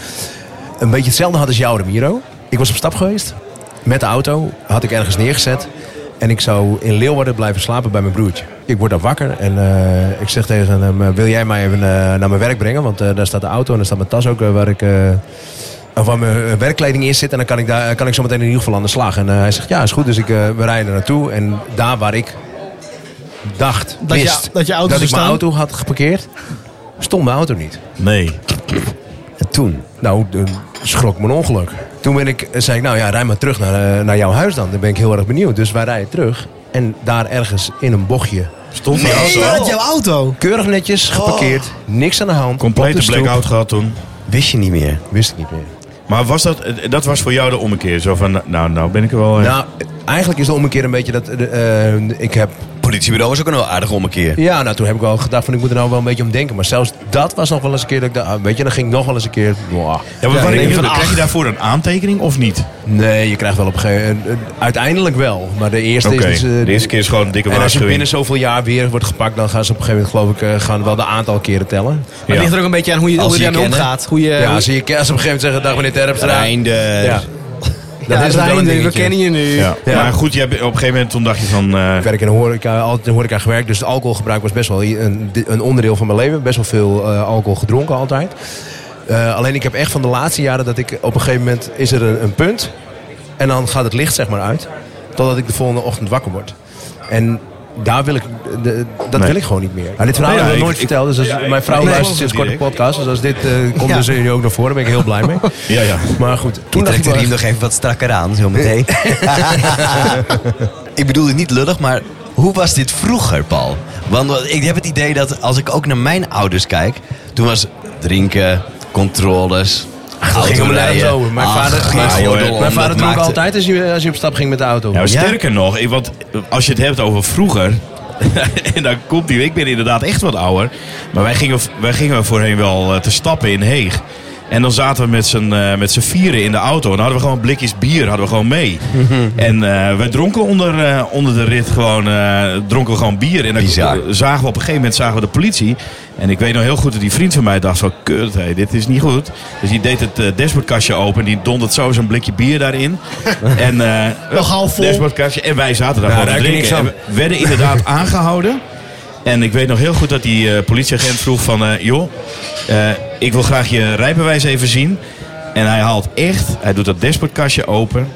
C: een beetje hetzelfde had als jou, de Miro. Ik was op stap geweest. Met de auto had ik ergens neergezet. En ik zou in Leeuwarden blijven slapen bij mijn broertje. Ik word dan wakker en eh, ik zeg tegen hem... eh, wil jij mij even eh, naar mijn werk brengen? Want eh, daar staat de auto en daar staat mijn tas ook... eh, waar ik... eh, of waar mijn eh, werkkleding in zit. En dan kan ik, daar, eh, kan ik zometeen in ieder geval aan de slag. En eh, hij zegt, ja, is goed. Dus ik, eh, we rijden er naartoe. En daar waar ik dacht,
A: Dat je-
C: wist,
A: dat je auto zou
C: dat ik mijn
A: staan?
C: auto had geparkeerd... stond mijn auto niet.
E: Nee.
C: En toen? Nou, de- schrok mijn ongeluk. Toen ben ik, zei ik, nou ja, rij maar terug naar, eh, naar jouw huis dan. Dan ben ik heel erg benieuwd. Dus wij rijden terug. En daar ergens in een bochtje.
E: Stond er al zo.
A: Uit jouw auto.
C: Keurig netjes geparkeerd.
A: Oh.
C: Niks aan de hand. op de
E: Complete
C: stoep.
E: blackout gehad toen.
B: Wist je niet meer.
C: Wist ik niet meer.
E: Maar was dat, eh, dat was voor jou de ommekeer? Zo van, nou, nou ben ik er wel. eh,
C: Nou, eigenlijk is de ommekeer een beetje dat... eh, de, eh, ik heb...
B: Politiebureau was ook een heel aardig ommekeer.
C: Ja, nou toen heb ik wel gedacht van ik moet er nou wel een beetje om denken. Maar zelfs dat was nog wel eens een keer dat ik dacht, ah, weet je, dan ging ik nog wel eens een keer... wow.
E: ja, maar waar
C: nee,
E: ik benieuwd
C: van,
E: ben, krijg je
C: ach.
E: daarvoor een aantekening of niet?
C: Nee, je krijgt wel op een gegeven moment... Uiteindelijk wel, maar de eerste
E: Oké,
C: is... dus, eh,
E: de eerste keer is gewoon een dikke
C: En als je binnen
E: waarschuwing.
C: zoveel jaar weer wordt gepakt, dan gaan ze op een gegeven moment, geloof ik, eh, gaan wel de aantal keren tellen.
A: Maar het ligt er ook een beetje aan hoe je,
B: Als
A: hoe je
B: ze je
A: daarmee
B: kennen.
A: omgaat. Hoe je,
C: Ja,
A: hoe-
C: als, je, als ze op een gegeven moment zeggen, dag meneer Terpstra.
B: Reinder.
C: Ja.
A: Ja,
C: Dat is wel een
A: Reinder, we
C: dingetje.
A: kennen je nu.
E: Ja.
C: Ja.
E: Maar goed, jij, bent- op een gegeven moment toen dacht je van... eh,
C: Ik werk in de horeca, altijd in de horeca gewerkt, dus het alcoholgebruik was best wel een, een onderdeel van mijn leven. Best wel veel eh, alcohol gedronken altijd. Eh, alleen ik heb echt van de laatste jaren dat ik op een gegeven moment is er een, een punt en dan gaat het licht zeg maar uit, totdat ik de volgende ochtend wakker word. En daar wil ik, de- dat
E: Nee.
C: wil ik gewoon niet meer. Nou, dit verhaal
E: Nee,
C: heb ik
E: ik-
C: nog nooit
E: ik-
C: verteld, dus als, mijn vrouw
E: ik-
C: luistert
E: ik-
C: sinds kort de
E: ik-
C: podcast, dus als dit eh, komt,
A: Ja.
C: dan zijn jullie ook naar voren, daar ben ik heel blij mee.
E: ja, ja.
C: Maar goed, toen
B: Toen
C: dacht ik
B: trekt de
C: wel
B: riem
C: echt-
B: nog even wat strakker aan, zo meteen. ik bedoel het niet lullig, maar hoe was dit vroeger, Paul? Want eh, ik heb het idee dat als ik ook naar mijn ouders kijk... Toen was drinken, controles,
C: Dat ging om nergens
B: autorijden.
C: over. Mijn
B: Ach,
C: vader,
B: geen
C: mijn,
E: joh,
B: gordel om,
C: mijn vader
B: dat
C: dronk
B: maakte-
C: altijd als je, als je op stap ging met de auto.
E: Ja, maar
B: Ja?
E: nou, sterker nog, ik- want eh, als je het hebt over vroeger... en dan komt die... Ik ben inderdaad echt wat ouder. Maar wij gingen, wij gingen voorheen wel eh, te stappen in Heeg. En dan zaten we met z'n eh, met z'n vieren in de auto. En dan hadden we gewoon blikjes bier hadden we gewoon mee.
A: Mhm.
E: en eh, wij dronken onder, eh, onder de rit gewoon, eh, dronken we gewoon bier. En dan eh,
B: Bizar.
E: zagen we op een gegeven moment zagen we de politie. En ik weet nog heel goed dat die vriend van mij dacht van... Kut, hé, dit is niet goed. Dus die deed het eh, dashboardkastje open. En die dondert zo zijn blikje bier daarin. en, eh,
A: Wel gauw vol.
E: Dashboardkastje. En wij zaten daar gewoon te
C: daar heb je
E: drinken.
C: niks
E: En we werden inderdaad aangehouden. En ik weet nog heel goed dat die eh, politieagent vroeg van... eh, joh, eh, ik wil graag je rijbewijs even zien. En hij haalt echt, hij doet dat dashboardkastje open.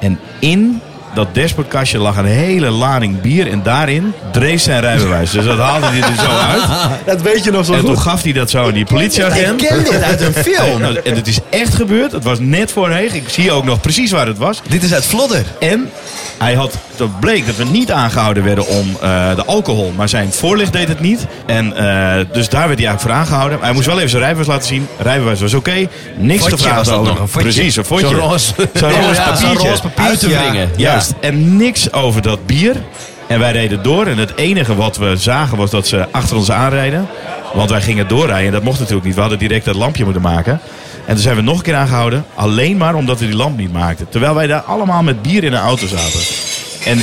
E: En in dat dashboardkastje lag een hele lading bier. En daarin dreef zijn rijbewijs. Dus dat haalde hij er zo uit.
A: Dat weet je nog zo
E: En toen
A: goed.
E: gaf hij dat zo aan die politieagent.
B: Ik ken dit uit een film.
E: Nou, en het is echt gebeurd. Het was net voor Heeg. Ik zie ook nog precies waar het was.
B: Dit is uit Vlodder.
E: En hij had, dat bleek dat we niet aangehouden werden om eh, de alcohol. Maar zijn voorlicht deed het niet. En eh, dus daar werd hij eigenlijk voor aangehouden. Hij moest wel even zijn rijbewijs laten zien. Rijbewijs was oké. Niks
B: Fotje
E: te vragen.
B: was dat
E: over.
B: nog, een fotje.
E: Precies, een fotje.
C: Zo'n roze-
E: Zo'n
B: Ja,
E: roze
B: zo'n
E: papiertje.
B: roze papiertje,
E: Uit te
B: ja.
E: wringen.
B: Ja.
E: Juist. En niks over dat bier. En wij reden door. En het enige wat we zagen was dat ze achter ons aanrijden. Want wij gingen doorrijden. En dat mocht natuurlijk niet. We hadden direct dat lampje moeten maken. En toen zijn we nog een keer aangehouden. Alleen maar omdat we die lamp niet maakten. Terwijl wij daar allemaal met bier in de auto zaten. En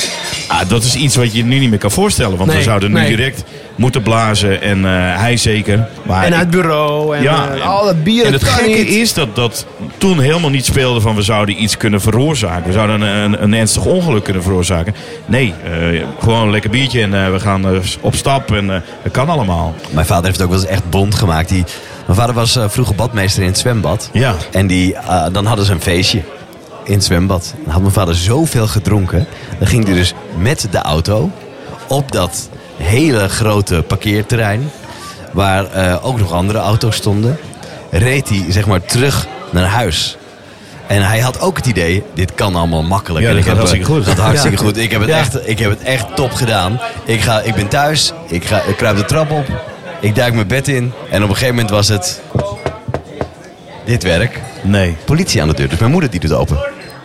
E: ah, dat is iets wat je nu niet meer kan voorstellen. Want
A: Nee,
E: we zouden nu
A: nee.
E: direct moeten blazen. En eh, hij zeker. Maar
A: En
E: ik-
A: uit bureau. En,
E: ja,
A: eh,
E: en-
A: al dat bier.
E: En het
A: kan
E: gekke
A: niet.
E: is dat dat toen helemaal niet speelde van we zouden iets kunnen veroorzaken. We zouden een, een, een ernstig ongeluk kunnen veroorzaken. Nee, eh, gewoon een lekker biertje en eh, we gaan eh, op stap en eh, het kan allemaal.
B: Mijn vader heeft het ook wel eens echt bond gemaakt. Die, mijn vader was eh, vroeger badmeester in het zwembad.
E: Ja.
B: En die, eh, dan hadden ze een feestje in het zwembad. Dan had mijn vader zoveel gedronken. Dan ging hij dus met de auto op dat hele grote parkeerterrein. Waar eh, ook nog andere auto's stonden. Reed hij zeg maar terug naar huis. En hij had ook het idee, dit kan allemaal makkelijk.
E: Ja,
B: En
E: dat
B: ik
E: gaat
B: heb, eh,
E: hartstikke goed.
B: Dat gaat hartstikke
C: Ja.
B: goed. Ik heb, het
C: Ja.
B: echt, ik heb het echt top gedaan. Ik, ga, ik ben thuis, ik, ga, ik kruip de trap op, ik duik mijn bed in. En op een gegeven moment was het... Dit werk.
E: Nee.
B: Politie aan de deur. Dus mijn moeder die doet open.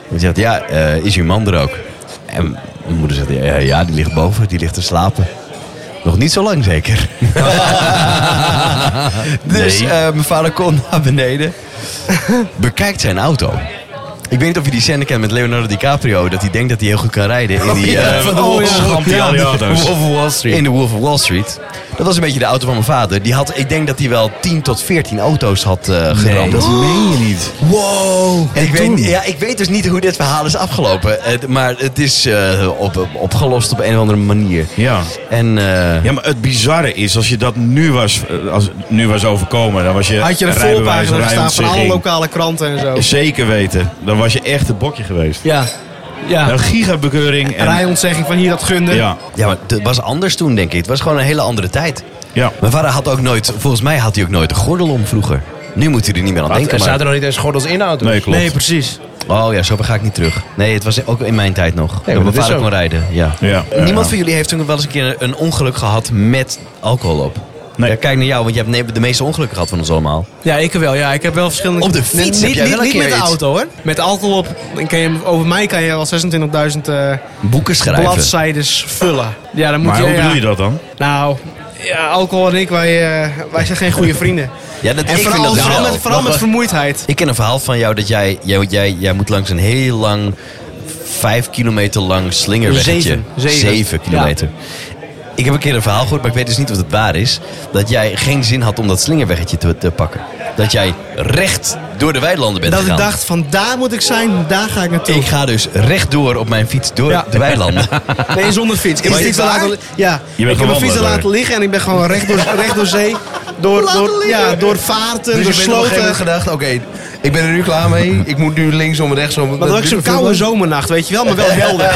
B: Die zegt, ja, eh, is uw man er ook? En mijn moeder zegt, ja, ja, die ligt boven, die ligt te slapen. Nog niet zo lang zeker. dus eh, mijn vader komt naar beneden. Bekijkt zijn auto. Ik weet niet of je die scène kent met Leonardo DiCaprio. Dat hij denkt dat hij heel goed kan rijden in die... eh,
E: van oh, schampt hij al die auto's.
C: Wall
B: in de Wolf of Wall Street. Dat was een beetje de auto van mijn vader. Die had, ik denk dat hij wel 10 tot 14 auto's had eh geramd.
E: meen je niet.
B: Wow! En ik, weet, ja, ik weet dus niet hoe dit verhaal is afgelopen. Eh, d- maar het is eh, op, op- opgelost op een of andere manier.
E: Ja.
B: En eh,
E: Ja, maar het bizarre is, als je dat nu was, eh, als, nu was overkomen, dan was je
A: Had je de
E: rijbewijs,
A: voorpagina gestaan van alle
E: rijontzegging.
A: lokale kranten en zo.
E: Zeker weten. Dan was je echt een bokje geweest.
A: Ja. Ja.
E: Een gigabekeuring. En,
A: Rijontzegging van hier dat gunde.
E: ja.
B: ja, maar het was anders toen, denk ik. Het was gewoon een hele andere tijd.
E: Ja.
B: Mijn vader had ook nooit, volgens mij had hij ook nooit een gordel om vroeger. Nu moet hij er niet meer aan denken.
C: Er
B: maar-
C: zaten nog niet eens gordels in de auto.
E: Nee, klopt.
A: Nee,
C: Dus
A: precies.
B: Oh ja, zo ver ga ik niet terug. Nee, het was ook in mijn tijd nog. dat
C: maar
B: mijn
C: dat is
B: vader
C: zo.
B: kon rijden. Ja.
E: Ja.
B: Niemand
E: Ja.
B: van jullie heeft toen wel eens een keer een ongeluk gehad met alcohol op.
E: Nee.
B: Ja, kijk naar jou, want je hebt ne- de meeste ongelukken gehad van ons allemaal.
A: Ja, ik wel. Ja, ik heb wel verschillende...
B: Op de fiets
A: niet,
B: heb jij
A: niet-
B: wel een
A: niet
B: keer
A: met de
B: iets.
A: auto, hoor. Met alcohol op... dan Kan je, over mij kan je al 26.000 eh
B: Boeken schrijven.
A: bladzijdes vullen. Ja, dan moet
E: Maar
A: je...
E: hoe
A: ja.
E: bedoel je dat dan?
A: Nou, ja, alcohol en ik, wij, eh, wij zijn geen goede vrienden.
B: Ja, dat,
A: En
B: ik
A: vooral,
B: vind dat
A: vooral,
B: wel.
A: met, vooral met vermoeidheid.
B: Ik ken een verhaal van jou dat jij, jij, jij, jij moet langs een heel lang, vijf kilometer lang slingerweggetje.
A: Zeven. Zeven.
B: kilometer. Ik heb een keer een verhaal gehoord, maar ik weet dus niet of het waar is. Dat jij geen zin had om dat slingerweggetje te, te pakken. Dat jij recht door de weilanden bent
A: Dat ik
B: gegaan.
A: dacht, van daar moet ik zijn, daar ga ik naartoe.
B: Ik ga dus rechtdoor op mijn fiets door
A: Ja.
B: de weilanden.
A: Nee, zonder fiets. Ik
B: Maar
A: heb mijn
B: is
A: fiets
B: het
A: laten, ja.
E: gewoon
A: ik heb mijn fiets
E: wandelaar.
A: laten liggen en ik ben gewoon recht door, recht door zee. Door, door, ja, door vaarten,
C: Dus
A: door
C: ik ben op een gegeven
A: sloten.
C: moment gedacht, oké, ik ben er nu klaar mee. Ik moet nu linksom en rechtsom.
A: Maar dat was zo'n koude zomernacht, weet je wel, maar wel helder.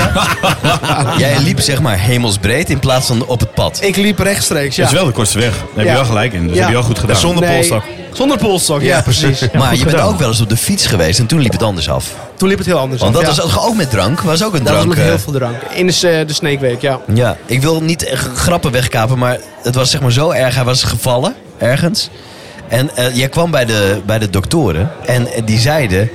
B: Jij liep zeg maar hemelsbreed in plaats van op het pad.
A: Ik liep rechtstreeks, ja.
E: Dat is wel de kortste weg. Daar heb
A: Ja.
E: je wel gelijk in. Dus
A: Ja.
E: heb je wel goed gedaan.
A: Nee, Zonder polstok, ja,
B: Ja.
A: precies.
B: maar je bent
E: gedaan.
B: ook wel eens op de fiets geweest en toen liep het anders af.
A: Toen liep het heel anders.
B: Want
A: af,
B: dat
A: ja.
B: was ook, ook met drank, was ook een
A: Daar was
B: drank.
A: ook heel
B: eh,
A: veel drank. In de, eh, de Snake Week, ja.
B: Ja, ik wil niet echt grappen wegkapen, maar het was zeg maar zo erg. Hij was gevallen ergens. En eh, jij kwam bij de, bij de doktoren en eh, die zeiden: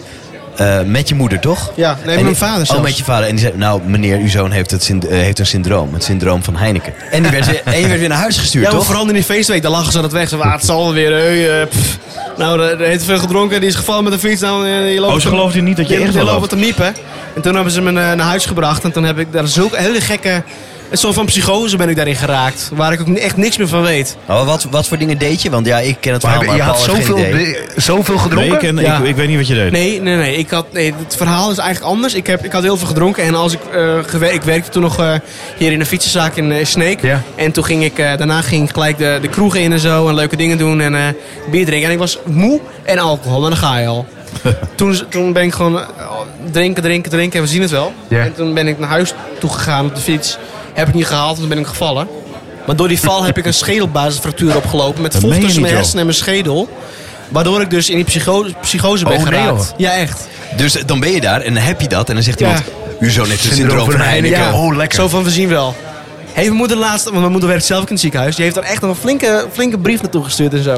B: eh, met je moeder, toch?
A: Ja, nee, met
B: En die-
A: mijn vader zelfs.
B: Oh, met je vader. En die zei, nou meneer, uw zoon heeft, het synd- eh, heeft een syndroom. Het syndroom van Heineken. En, die werd, weer- en je werd weer naar huis gestuurd,
A: Ja, maar
B: toch?
A: vooral in die feestweek, daar lachen ze aan het weg. Ze waren, "Ah, het zal wel weer, hey, eh, pff." Nou, er er heeft veel gedronken, die is gevallen met een fiets. Nou, eh, je loopt
E: Oh, ze
A: hem-
E: geloofden niet dat je echt
A: Je
E: gelooft.
A: loopt het hem niet, hè. En toen hebben ze me eh, naar huis gebracht. En toen heb ik daar zulke hele gekke... Een soort van psychose ben ik daarin geraakt. Waar ik ook echt niks meer van weet.
B: Oh, wat, wat voor dingen deed je? Want ja, ik ken het verhaal,
C: Maar
B: maar,
C: je
B: Paul
C: had
B: heeft
C: zoveel,
B: geen idee.
C: be- zoveel
E: Nee, ik,
C: gedronken?
E: ken-
A: Ja.
E: ik, ik weet niet wat je deed.
A: Nee, nee, nee. Ik had, nee het verhaal is eigenlijk anders. Ik, heb, ik had heel veel gedronken. En als ik, eh, gewer- ik werkte toen nog eh, hier in een fietsenzaak in eh, Sneek.
C: Ja.
A: En toen ging ik, eh, daarna ging ik gelijk de, de kroegen in en zo. En leuke dingen doen en eh, bier drinken. En ik was moe en alcohol. En dan ga je al. toen, toen ben ik gewoon eh, drinken, drinken, drinken. En we zien het wel.
C: Ja.
A: En toen ben ik naar huis toe gegaan op de fiets. Heb ik niet gehaald, want toen ben ik gevallen. Maar door die val heb ik een schedelbasisfractuur opgelopen. Met
E: Dat
A: vocht
E: meen je
A: tussen
E: niet,
A: mijn
E: joh.
A: hersenen en mijn schedel. Waardoor ik dus in die psycho- psychose ben
C: Oh, nee,
A: geraakt.
C: joh.
A: ja, echt.
B: Dus dan ben je daar en dan heb je dat. En dan zegt
A: Ja.
B: iemand, uw zoon heeft een
C: Syndroom
B: syndroom van
C: van
B: Heineken.
C: Heineken.
B: Oh,
C: Oh, lekker.
A: Zo van, we zien wel. Heeft mijn moeder laatst, want mijn moeder werkt zelf ook in het ziekenhuis. Die heeft daar echt nog een flinke, flinke brief naartoe gestuurd en zo.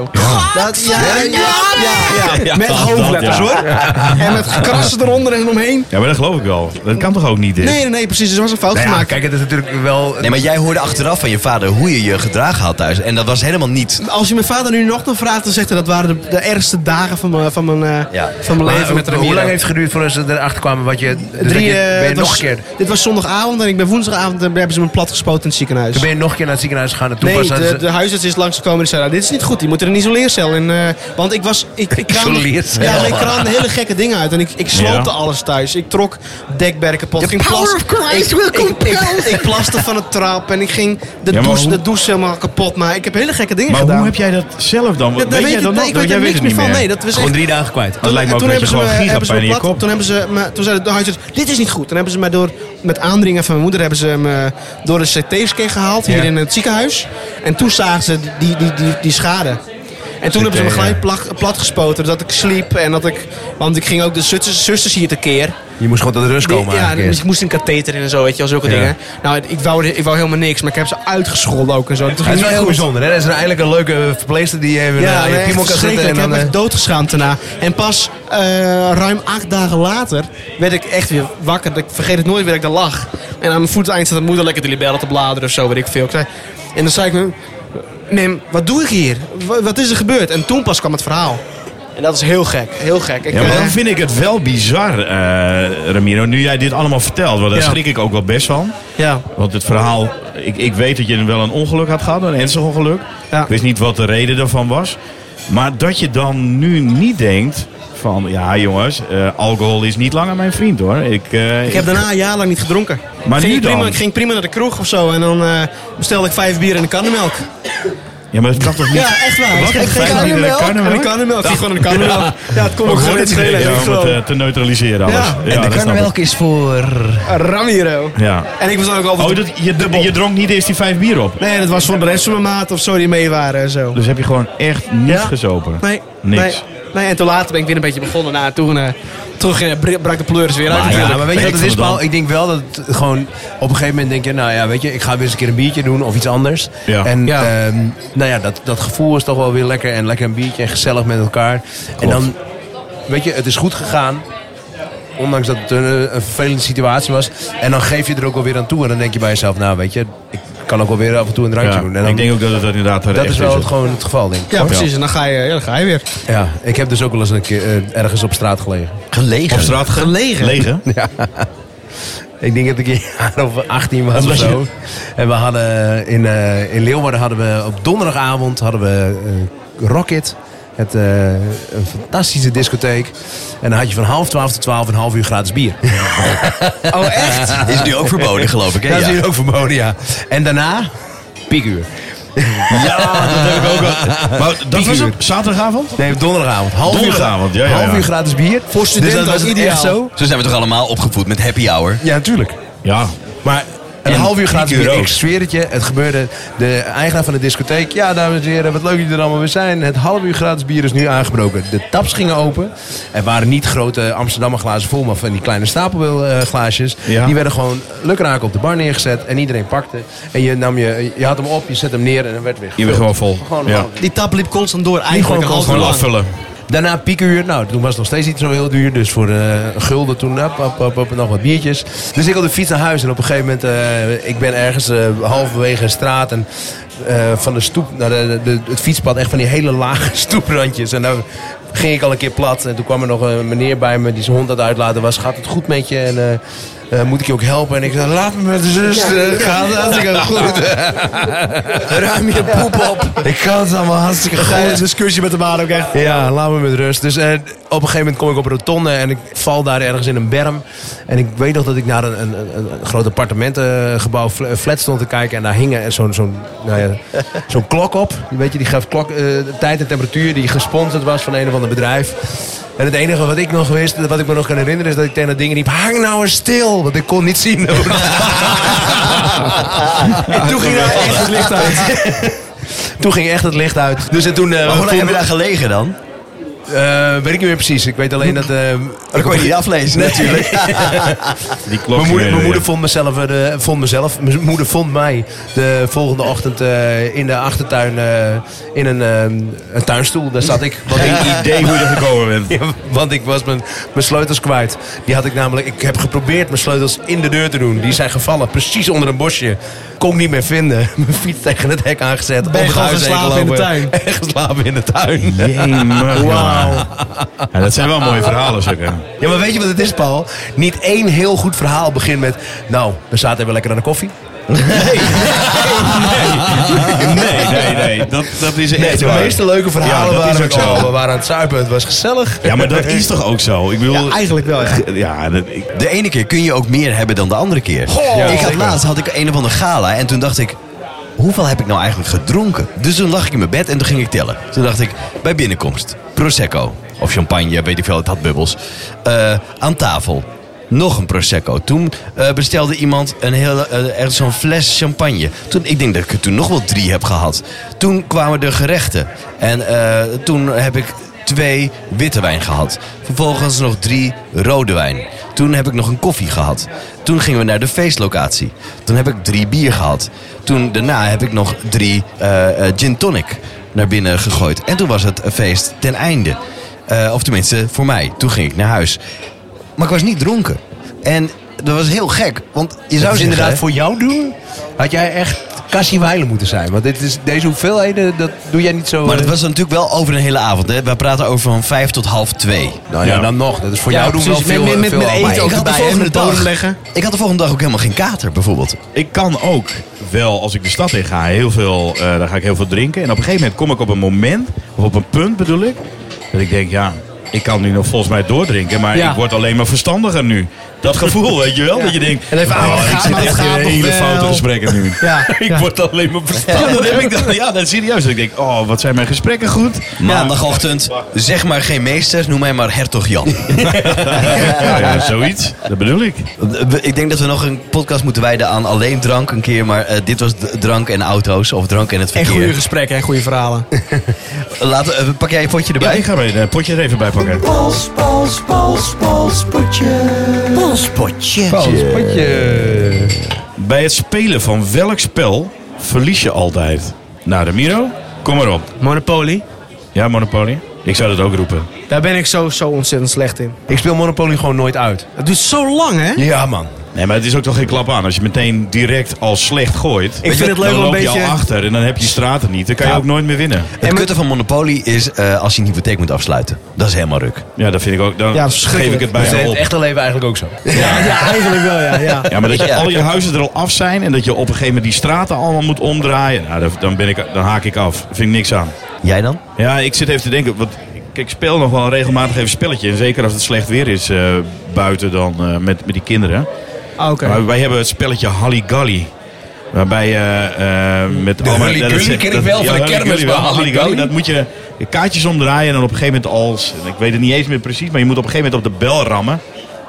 A: Dat, ja, ja, ja, ja.
E: Ja,
A: Met
E: dat,
A: hoofdletters
E: ja.
A: hoor. En met krassen eronder en omheen.
E: Ja, maar dat geloof ik wel. Dat kan toch ook niet, dit?
A: Nee, nee, nee, precies. Er was een fout
C: Nou ja,
A: gemaakt.
C: kijk, het is natuurlijk wel...
B: Nee, maar jij hoorde achteraf van je vader hoe je je gedragen had thuis. En dat was helemaal niet.
A: Als je mijn vader nu nog nog vraagt, dan zegt hij dat waren de, de ergste dagen van mijn, van mijn, eh,
B: Ja.
A: van mijn
C: Maar
A: leven
C: hoe-
A: met
C: hoe
A: Ramiro.
C: lang heeft het geduurd voordat ze erachter kwamen wat je... dus dat
A: Drie,
C: je-
A: eh,
C: ben je
A: het
C: nog
A: was-
C: een keer...
A: Dit was zondagavond en ik ben woensdagavond en hebben ze me plat gespoten in het ziekenhuis.
C: Toen ben je nog een keer naar het ziekenhuis gegaan en toen
A: Nee,
C: pas aan
A: de,
C: ze-
A: de huisarts is langsgekomen en die zei, nou, dit is niet goed, die moet in een isoleercel. En, eh, want ik was... Ik, ik kraamde-
C: Isoleercel.
A: Ja, maar ik kraamde hele gekke dingen uit en ik, ik sloopte
E: Ja.
A: alles thuis. Ik trok dekberken kapot.
D: The
A: ging
D: power
A: plas-
D: of Christ
A: ik,
D: will
A: ik-
D: compel.
A: Ik, ik plaste van het trap en ik ging de,
E: Ja, maar
A: douche,
E: hoe-
A: de douche helemaal kapot maken. Ik heb hele gekke dingen
E: Maar
A: gedaan.
E: hoe heb jij dat zelf dan?
A: Ja, daar
E: weet jij
A: ik-
E: dan
A: nee,
E: nog?
A: ik weet
E: jij
A: er niks meer van. Nee,
E: meer.
A: dat was echt-
C: Gewoon drie dagen kwijt.
E: Dat lijkt me ook
A: toen
E: dat je
A: hebben ze
E: gewoon
A: me-
E: giga
A: hebben ze
E: pijn in
A: me
E: je
A: plat-
E: kop.
A: Toen, hebben ze me, toen zei de huisarts, dit is niet goed. Toen hebben ze mij door, met aandringen van mijn moeder hebben ze me door een CT-scan gehaald hier
C: Ja.
A: in het ziekenhuis. En toen zagen ze die, die, die, die schade. En toen hebben ze me
C: ja.
A: gelijk plat, gespoten dat ik sliep. En dat ik, want ik ging ook de zusters, zusters hier tekeer.
C: Je moest gewoon tot rust
A: Die-
C: komen
A: ja,
C: eigenlijk
A: dus
C: eerst.
A: ik moest een katheter in en zo, weet je wel, zulke
C: Ja.
A: dingen. Nou, ik wou, ik wou helemaal niks, maar ik heb ze uitgescholden ook en zo. Dat
C: Ja, Het
A: ging
C: is wel
A: heel
C: heel bijzonder, hè? Dat is een- eigenlijk een leuke eh, verpleegster die even
A: ja,
C: eh,
A: nee,
C: je
A: echt
C: piemel kan zetten.
A: verschrikkelijk.
C: En
A: Ik heb
C: dan,
A: me
C: eh,
A: echt doodgeschaamd daarna. En pas eh, ruim acht dagen later werd ik echt weer wakker. Ik vergeet het nooit weer dat ik daar lag. En aan mijn voeteind zat mijn moeder lekker de libellen te bladeren of zo, weet ik veel. Ik zei- En dan zei ik me, Mem, wat doe ik hier? Wa- Wat is er gebeurd? En toen pas kwam het verhaal. En dat is heel gek, heel gek. Ik,
E: Ja, maar
A: eh,
E: dan vind ik het wel bizar, eh, Ramiro, nu jij dit allemaal vertelt. Want daar
A: Ja.
E: schrik ik ook wel best van.
A: ja.
E: Want het verhaal, ik, ik weet dat je wel een ongeluk had gehad, een ernstig ongeluk.
A: Ja.
E: Ik wist niet wat de reden daarvan was. Maar dat je dan nu niet denkt van, ja jongens, eh, alcohol is niet langer mijn vriend hoor. Ik, eh,
A: Ik heb daarna een jaar lang niet gedronken.
E: Maar
A: ging
E: nu
A: ik prima,
E: dan?
A: Ik ging prima naar de kroeg of zo en dan eh, bestelde ik vijf bier en een karnemelk.
E: Ja, maar dat kan toch niet?
A: Ja, echt waar.
E: Wat?
A: Ik ging
E: Vijf
A: karnemelk.
E: liter
A: En een
E: karnemelk?
A: karnemelk. Ik ging gewoon een karnemelk. Ja, het kon ook gewoon
E: Ook gewoon
A: niet
E: het idee,
A: schelen.
E: ja,
A: Ik
E: om het
A: gewoon-
E: eh, te neutraliseren alles.
A: Ja.
E: dat snap ik.
B: is voor...
A: Ramiro.
E: Ja.
A: En ik was dan ook altijd...
E: Oh, dat, je, je dronk niet eerst die vijf bier op.
A: Nee, dat was voor de rest van mijn maat of zo die mee waren en zo.
E: Dus heb je gewoon echt niet
A: Ja.
E: gezopen.
A: Nee,
E: Niks.
A: Nee, nee, en toen later ben ik weer een beetje begonnen. Na, toen, eh, toen ging- br- brak de pleuris weer uit.
C: Ah,
A: natuurlijk.
C: ja, maar weet je
E: Ben
C: wat het
E: ik
C: is,
E: van dan.
C: Paul? Ik denk wel dat het gewoon op een gegeven moment denk je, nou ja, weet je, ik ga weer eens een keer een biertje doen of iets anders.
E: Ja.
C: En
A: Ja.
C: ehm, nou ja, dat, dat gevoel is toch wel weer lekker en lekker een biertje en gezellig met elkaar. En dan, weet je, het is goed gegaan. Ondanks dat het een, eh, een vervelende situatie was. En dan geef je er ook alweer aan toe. En dan denk je bij jezelf, nou weet je, ik kan ook alweer af en toe een drankje
E: Ja.
C: doen. En dan-
E: Ik denk ook dat het inderdaad
C: dat
E: echt
C: is wel het, gewoon het geval, denk ik.
A: Ja, precies. En dan ga je, ja, dan ga je weer.
C: Ja, ik heb dus ook wel eens een keer eh, ergens op straat gelegen.
B: Gelegen.
E: Op straat
A: Gelegen.
E: Legen?
C: Ik denk dat ik een jaar of 18 was of
E: Omdat je-
C: zo. En we hadden in, eh, in Leeuwarden hadden we op donderdagavond hadden we eh, Rocket. Het, eh, een fantastische discotheek. En dan had je van half twaalf tot twaalf een half uur gratis bier.
A: Oh, echt?
B: Is nu ook verboden, geloof ik. Hè?
C: Dat is
B: Ja.
C: hier ook verboden, ja. En daarna, piekuur.
E: Ja, dat heb ik ook wel. Maar dat was het? Zaterdagavond?
C: Nee, donderdagavond. Half
E: Donderdagavond,
C: uur,
E: ja, ja, ja.
C: Half uur gratis bier. Voor
A: studenten
C: dus dat was
A: ook
C: het
A: ideaal.
C: echt zo.
B: Zo zijn we toch allemaal opgevoed met happy hour?
C: Ja, natuurlijk.
E: Ja.
C: Maar een
E: En
C: half uur gratis
E: drie uur
C: bier.
E: ook.
C: Ik zweer het je, het gebeurde. De eigenaar van de discotheek. Ja, dames en heren, wat leuk dat jullie er allemaal weer zijn. Het half uur gratis bier is nu aangebroken. De taps gingen open. Er waren niet grote Amsterdammer glazen vol, maar van die kleine stapelglaasjes.
E: Ja.
C: Die werden gewoon lukraak op de bar neergezet. En iedereen pakte. En je, nam je, je had hem op, je zet hem neer en dan werd weer
E: Je bent
C: gevuld.
E: gewoon vol.
C: Gewoon,
E: Ja.
C: gewoon.
A: Die tap liep constant door. Eigenlijk
C: gewoon
A: al
E: Gewoon
A: lang.
E: afvullen.
C: Daarna piekuur. Nou, toen was het nog steeds niet zo heel duur. Dus voor eh, een gulden toen, up, up, up, up, nog wat biertjes. Dus ik had de fiets naar huis. En op een gegeven moment, eh, ik ben ergens eh, halverwege een straat. En eh, van de stoep naar de, de- het fietspad. Echt van die hele lage stoeprandjes. En daar ging ik al een keer plat. En toen kwam er nog een meneer bij me die zijn hond aan het uitlaten was. Gaat het goed met je? En... eh, eh, moet ik je ook helpen? En ik zei, laat me met de zus. eh, gaat het hartstikke goed. Ruim je poep op. Ik kan het allemaal hartstikke goed.
A: discussie met de baan ook echt.
C: Ja, laat me met rust. Dus eh, op een gegeven moment kom ik op een rotonde en ik val daar ergens in een berm. En ik weet nog dat ik naar een, een, een- een groot appartementengebouw, fl- flat stond te kijken. En daar hing er zo'n zo'n nou ja, zo'n klok op. Weet je, die gaf klok, eh, tijd en temperatuur die gesponsord was van een of ander bedrijf. En het enige wat ik nog wist, wat ik me nog kan herinneren, is dat ik tegen dat ding riep: hang nou eens stil! Want ik kon niet zien. en toen ging daar echt het licht uit. Toen ging echt het licht uit. Dus en toen. eh,
B: Maar hoe lang
C: voelde-
B: heb je daar gelegen dan?
C: eh, weet ik niet meer precies. Ik weet alleen dat... eh,
B: Dat kon je niet aflezen natuurlijk.
E: Die klok.
C: mijn moeder, mijn moeder vond mezelf, eh, de, vond mezelf, mijn moeder vond mij de volgende ochtend eh, in de achtertuin eh, in een, eh, een tuinstoel. Daar zat ik. Want ik,
E: Geen idee hoe je er gekomen bent.
C: Ja, want ik was mijn, mijn sleutels kwijt. Die had ik namelijk. Ik heb geprobeerd mijn sleutels in de deur te doen. Die zijn gevallen, precies onder een bosje. Kon ik niet meer vinden. Mijn fiets tegen het hek
A: Ben
C: aangezet.
A: je
C: op het
A: gewoon
C: huis heen
A: geslapen in de
C: gelopen. En geslapen in de tuin.
E: Jemig, Wauw. Ja, dat zijn wel mooie verhalen, zeg. hè.
C: Ja, maar weet je wat het is, Paul? Niet één heel goed verhaal begint met... Nou, we zaten even lekker aan de koffie.
E: Nee, nee, nee. Dat, dat is echt
C: de
E: waar.
C: meeste leuke verhalen
E: Ja, dat is
C: waren ook
E: ook zo.
C: oh, we waren aan het zuipen, het was gezellig.
E: Ja, maar dat is toch ook zo? Ik bedoel...
A: Eigenlijk wel, ja.
E: Ja, dat, ik,
B: De ene keer kun je ook meer hebben dan de andere keer. ik had laatst had ik een of andere gala en toen dacht ik... Hoeveel heb ik nou eigenlijk gedronken? Dus toen lag ik in mijn bed en toen ging ik tellen. Toen dacht ik, bij binnenkomst, prosecco of champagne, weet ik veel, het had bubbels. Eh, aan tafel, nog een prosecco. Toen eh, bestelde iemand een hele, eh, echt zo'n fles champagne. Toen, ik denk dat ik er toen nog wel drie heb gehad. Toen kwamen de gerechten. En eh, toen heb ik twee witte wijn gehad. Vervolgens nog drie rode wijn. Toen heb ik nog een koffie gehad. Toen gingen we naar de feestlocatie. Toen heb ik drie bier gehad. Toen daarna heb ik nog drie eh, eh, gin tonic naar binnen gegooid. En toen was het feest ten einde. Eh, of tenminste, voor mij. Toen ging ik naar huis. Maar ik was niet dronken. En dat was heel gek. Want je zou
C: Zou
B: ze inderdaad
C: ze inderdaad voor jou doen? Had jij echt Cassie Weilen moeten zijn. Want dit is, deze hoeveelheden, dat doe jij niet zo...
B: Maar dat
C: eh,
B: was natuurlijk wel over een hele avond. Hè? We praten over van vijf tot half twee.
C: Nou ja,
E: Ja.
C: dan nog. Dat is voor
A: Ja,
C: jou doen we wel
A: precies.
C: veel,
A: Met- met-
C: veel
A: met
C: aan
A: eten
C: mij.
A: ook.
B: had
A: erbij en
B: volgende
A: op de bodem
B: dag-
A: leggen.
B: Ik had de volgende dag ook helemaal geen kater, bijvoorbeeld.
E: ik kan ook wel, als ik de stad in ga, heel veel, eh dan ga ik heel veel drinken. En op een gegeven moment kom ik op een moment, of op een punt bedoel ik, dat ik denk, ja, ik kan nu nog volgens mij doordrinken, maar
A: Ja.
E: ik word alleen maar verstandiger nu. Dat gevoel, weet je wel? Dat je denkt, oh,
A: En even, ah, wat
E: ik
A: gaat-
E: zit
A: wat
E: echt in
A: gaat
E: een
A: nog
E: hele
A: wel?
E: foute gesprekken nu.
A: Ja,
E: ik
A: ja.
E: word alleen maar verstandiger. dat heb ik dan. Ja, dat is serieus. Dat ik denk, oh, wat zijn mijn gesprekken goed.
B: Maandagochtend, zeg maar geen meester, noem mij maar hertog Jan.
E: Ja, ja, zoiets. Dat bedoel ik.
B: We- ik denk dat we nog een podcast moeten wijden aan alleen drank een keer. Maar eh, dit was d- drank en auto's of drank en het
A: En goede
B: verkeer.
A: gesprekken en goede verhalen.
B: Laten, eh, pak jij je potje
E: Ja,
B: erbij?
E: ik ga mijn eh, potje er even bij pakken.
F: Pols, pols, pols, pols, potje. Polspotje.
C: Paul, spotje.
E: Bij het spelen van welk spel verlies je altijd? Nou, Ramiro, kom maar op.
A: Monopoly,
E: Ja, Monopoly? Ik zou dat ook roepen.
A: daar ben ik zo, zo ontzettend slecht in.
C: Ik speel Monopoly gewoon nooit uit. Dus
A: Het duurt zo lang, hè?
C: Ja, man.
E: Nee, maar het is ook toch geen klap aan. Als je meteen direct al slecht gooit,
A: vind
E: weet je,
A: het leuk
E: dan
A: om
E: loop
A: een
E: je
A: beetje-
E: al achter en dan heb je straten niet. Dan kan
B: Ja.
E: je ook nooit meer winnen.
B: Het kutte van Monopoly is eh, als je een hypotheek moet afsluiten. Dat is helemaal ruk.
E: Ja, dat vind ik ook. Dan
A: Ja, dat is
E: geef ik het
C: Dat is in
E: bijna
C: het
E: op.
C: echte leven eigenlijk ook zo.
A: Ja, eigenlijk wel, ja. ja.
E: Ja, maar dat je
B: Ja.
E: al je huizen er al af zijn en dat je op een gegeven moment die straten allemaal moet omdraaien. Nou, dat- dan, ben ik, dan haak ik af. Daar vind ik niks aan.
B: Jij dan?
E: Ja, ik zit even te denken. Want ik, ik speel nog wel regelmatig even spelletje. En zeker als het slecht weer is eh, buiten dan eh, met, met die kinderen.
A: Ah, Oké.
E: Maar wij hebben het spelletje Halligalli. Waarbij eh, eh, met allemaal...
C: Halligalli
E: dat is-
C: ken ik
E: dat-
C: wel
E: ja,
C: van de
E: Halligalli
C: kermis,
E: wel.
C: maar
E: Halligalli,
C: Halligalli?
E: dat moet je je kaartjes omdraaien en dan op een gegeven moment als... en Ik weet het niet eens meer precies, maar je moet op een gegeven moment op de bel rammen.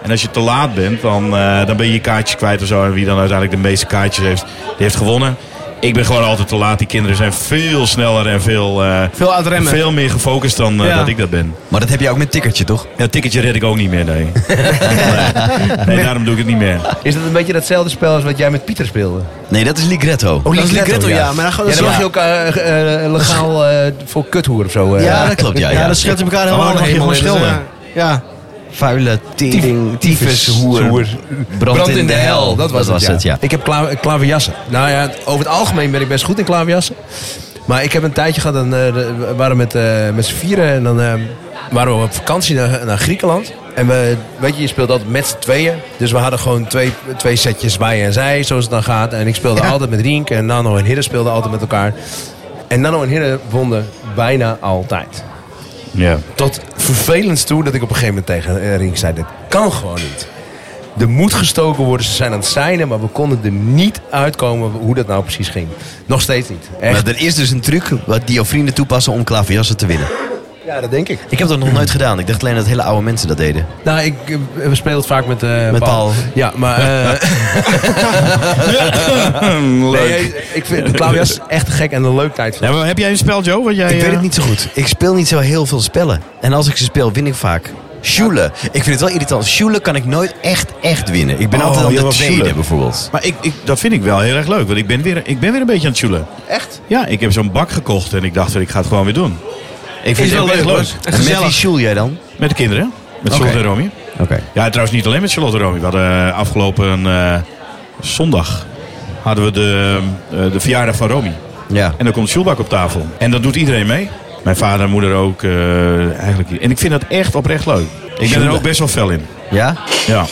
E: En als je te laat bent, dan, eh, dan ben je je kaartjes kwijt of zo. En wie dan uiteindelijk de meeste kaartjes heeft, die heeft gewonnen. Ik ben gewoon altijd te laat. Die kinderen zijn veel sneller en veel, eh,
A: Veel aan het remmen.
E: veel meer gefocust dan eh,
A: Ja.
E: dat ik dat ben.
B: Maar dat heb je ook met tikkertje, toch?
E: Ja, het ticketje red ik ook niet meer, nee. nee. nee, daarom doe ik het niet meer.
C: Is dat een beetje datzelfde spel als wat jij met Pieter speelde?
B: Nee, dat is Ligretto.
C: Oh,
A: dat is Ligretto, ja. Maar dan, gaan we
C: Ja, dan
A: zo-
C: mag je ook eh, eh, eh, legaal eh, voor kuthoer of zo. eh.
B: Ja, dat klopt, ja.
A: ja, dan scheelt je elkaar helemaal
B: dan
A: nog
B: mag je
A: helemaal
B: gewoon
A: in, dus,
B: schilderen.
A: eh, Ja.
B: Vuile tering, tyfus,
C: hoer.
B: hoer.
C: Brand, in de hel. Dat was, het, ja.
B: ja.
C: Ik heb kla klaverjassen. Nou ja, over het algemeen ben ik best goed in klaverjassen. Maar ik heb een tijdje gehad, en, eh, we waren met, eh, met z'n vieren en dan eh, waren we op vakantie naar, naar Griekenland. En we, weet je, je speelt altijd met z'n tweeën. Dus we hadden gewoon twee, twee setjes wij en zij, zoals het dan gaat. En ik speelde altijd met Rienk en Nano en Hidde speelden altijd met elkaar. En Nano en Hidde wonnen bijna altijd.
E: Ja.
C: Tot vervelend toe dat ik op een gegeven moment tegen eh, Rink zei: Dit kan gewoon niet. Er moet gestoken worden, ze zijn aan het seinen, maar we konden er niet uitkomen hoe dat nou precies ging. Nog steeds niet. Echt?
B: Maar er is dus een truc wat die jouw vrienden toepassen om klaverjassen te winnen.
C: Ja, dat denk ik.
B: Ik heb dat nog nooit gedaan. Ik dacht alleen dat hele oude mensen dat deden.
C: Nou, ik eh, we spelen het vaak met, eh
B: Met Paul.
C: Ja, maar. eh, nee, ik vind Claudia is echt te gek en een leuk tijd.
E: Ja, maar heb jij een spel, Joe? Wat jij,
B: Ik weet
E: eh,
B: het niet zo goed. Ik speel niet zo heel veel spellen. En als ik ze speel, win ik vaak. Sjoelen. Ik vind het wel irritant. Sjoelen kan ik nooit echt, echt winnen. Ik ben
E: Oh,
B: altijd aan
E: jij
B: de
E: was
B: tweede,
E: sjoelen.
B: bijvoorbeeld.
E: Maar ik, ik, dat vind ik wel heel erg leuk, want ik ben weer, ik ben weer een beetje aan het joelen.
C: Echt?
E: Ja, ik heb zo'n bak gekocht en ik dacht, ik ga het gewoon weer doen. Ik vind het echt leuk.
B: En met wie sjoel jij dan?
E: Met de kinderen, met Charlotte en Romy.
B: Oké.
E: Ja, trouwens niet alleen met Charlotte en Romy. We hadden eh, afgelopen eh, zondag hadden we de, eh, de verjaardag van Romy.
B: Ja.
E: En dan komt Sjoelbak op tafel. En dat doet iedereen mee. Mijn vader en moeder ook. eh, eigenlijk. En ik vind dat echt oprecht leuk. Ik ben er
B: Sjoelbak.
E: ook best wel fel in.
B: Ja?
E: Ja.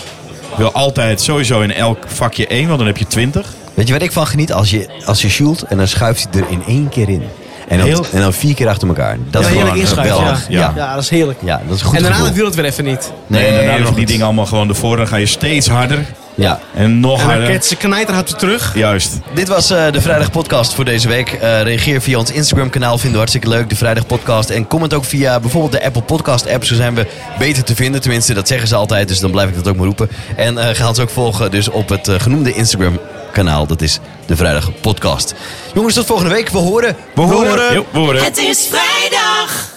E: Ik wil altijd sowieso in elk vakje één, want dan heb je twintig.
B: Weet je wat ik van geniet? Als je, als je sjoelt en dan schuift hij er in één keer in. En dan,
E: Heel-
B: en dan vier keer achter elkaar. Dat
A: Ja,
B: is
A: heerlijk
B: gewoon
A: inschuiven. Ja.
B: geweldig.
A: Ja.
B: Ja.
A: dat is heerlijk.
B: Ja, dat is een goed
A: en daarna
B: gevoel.
A: wil het weer even niet.
E: en daarna nog
B: nog
E: die
B: niet.
E: dingen allemaal gewoon ervoor. Dan ga je steeds harder.
B: Oh, Ja.
E: En nog
A: En dan
E: harder.
A: kent ze knijter hard weer terug.
E: Juist.
B: Dit was eh, de Vrijdag Podcast voor deze week. Eh, reageer via ons Instagram kanaal. Vinden we hartstikke leuk, de Vrijdag Podcast. En comment ook via bijvoorbeeld de Apple Podcast app. Zo zijn we beter te vinden. Tenminste, dat zeggen ze altijd. Dus dan blijf ik dat ook maar roepen. En eh, ga ons ook volgen dus op het eh, genoemde Instagram kanaal. Dat is de Vrijdag Podcast. Jongens, tot volgende week. We horen.
E: We horen. Jo, we horen.
D: Het is vrijdag.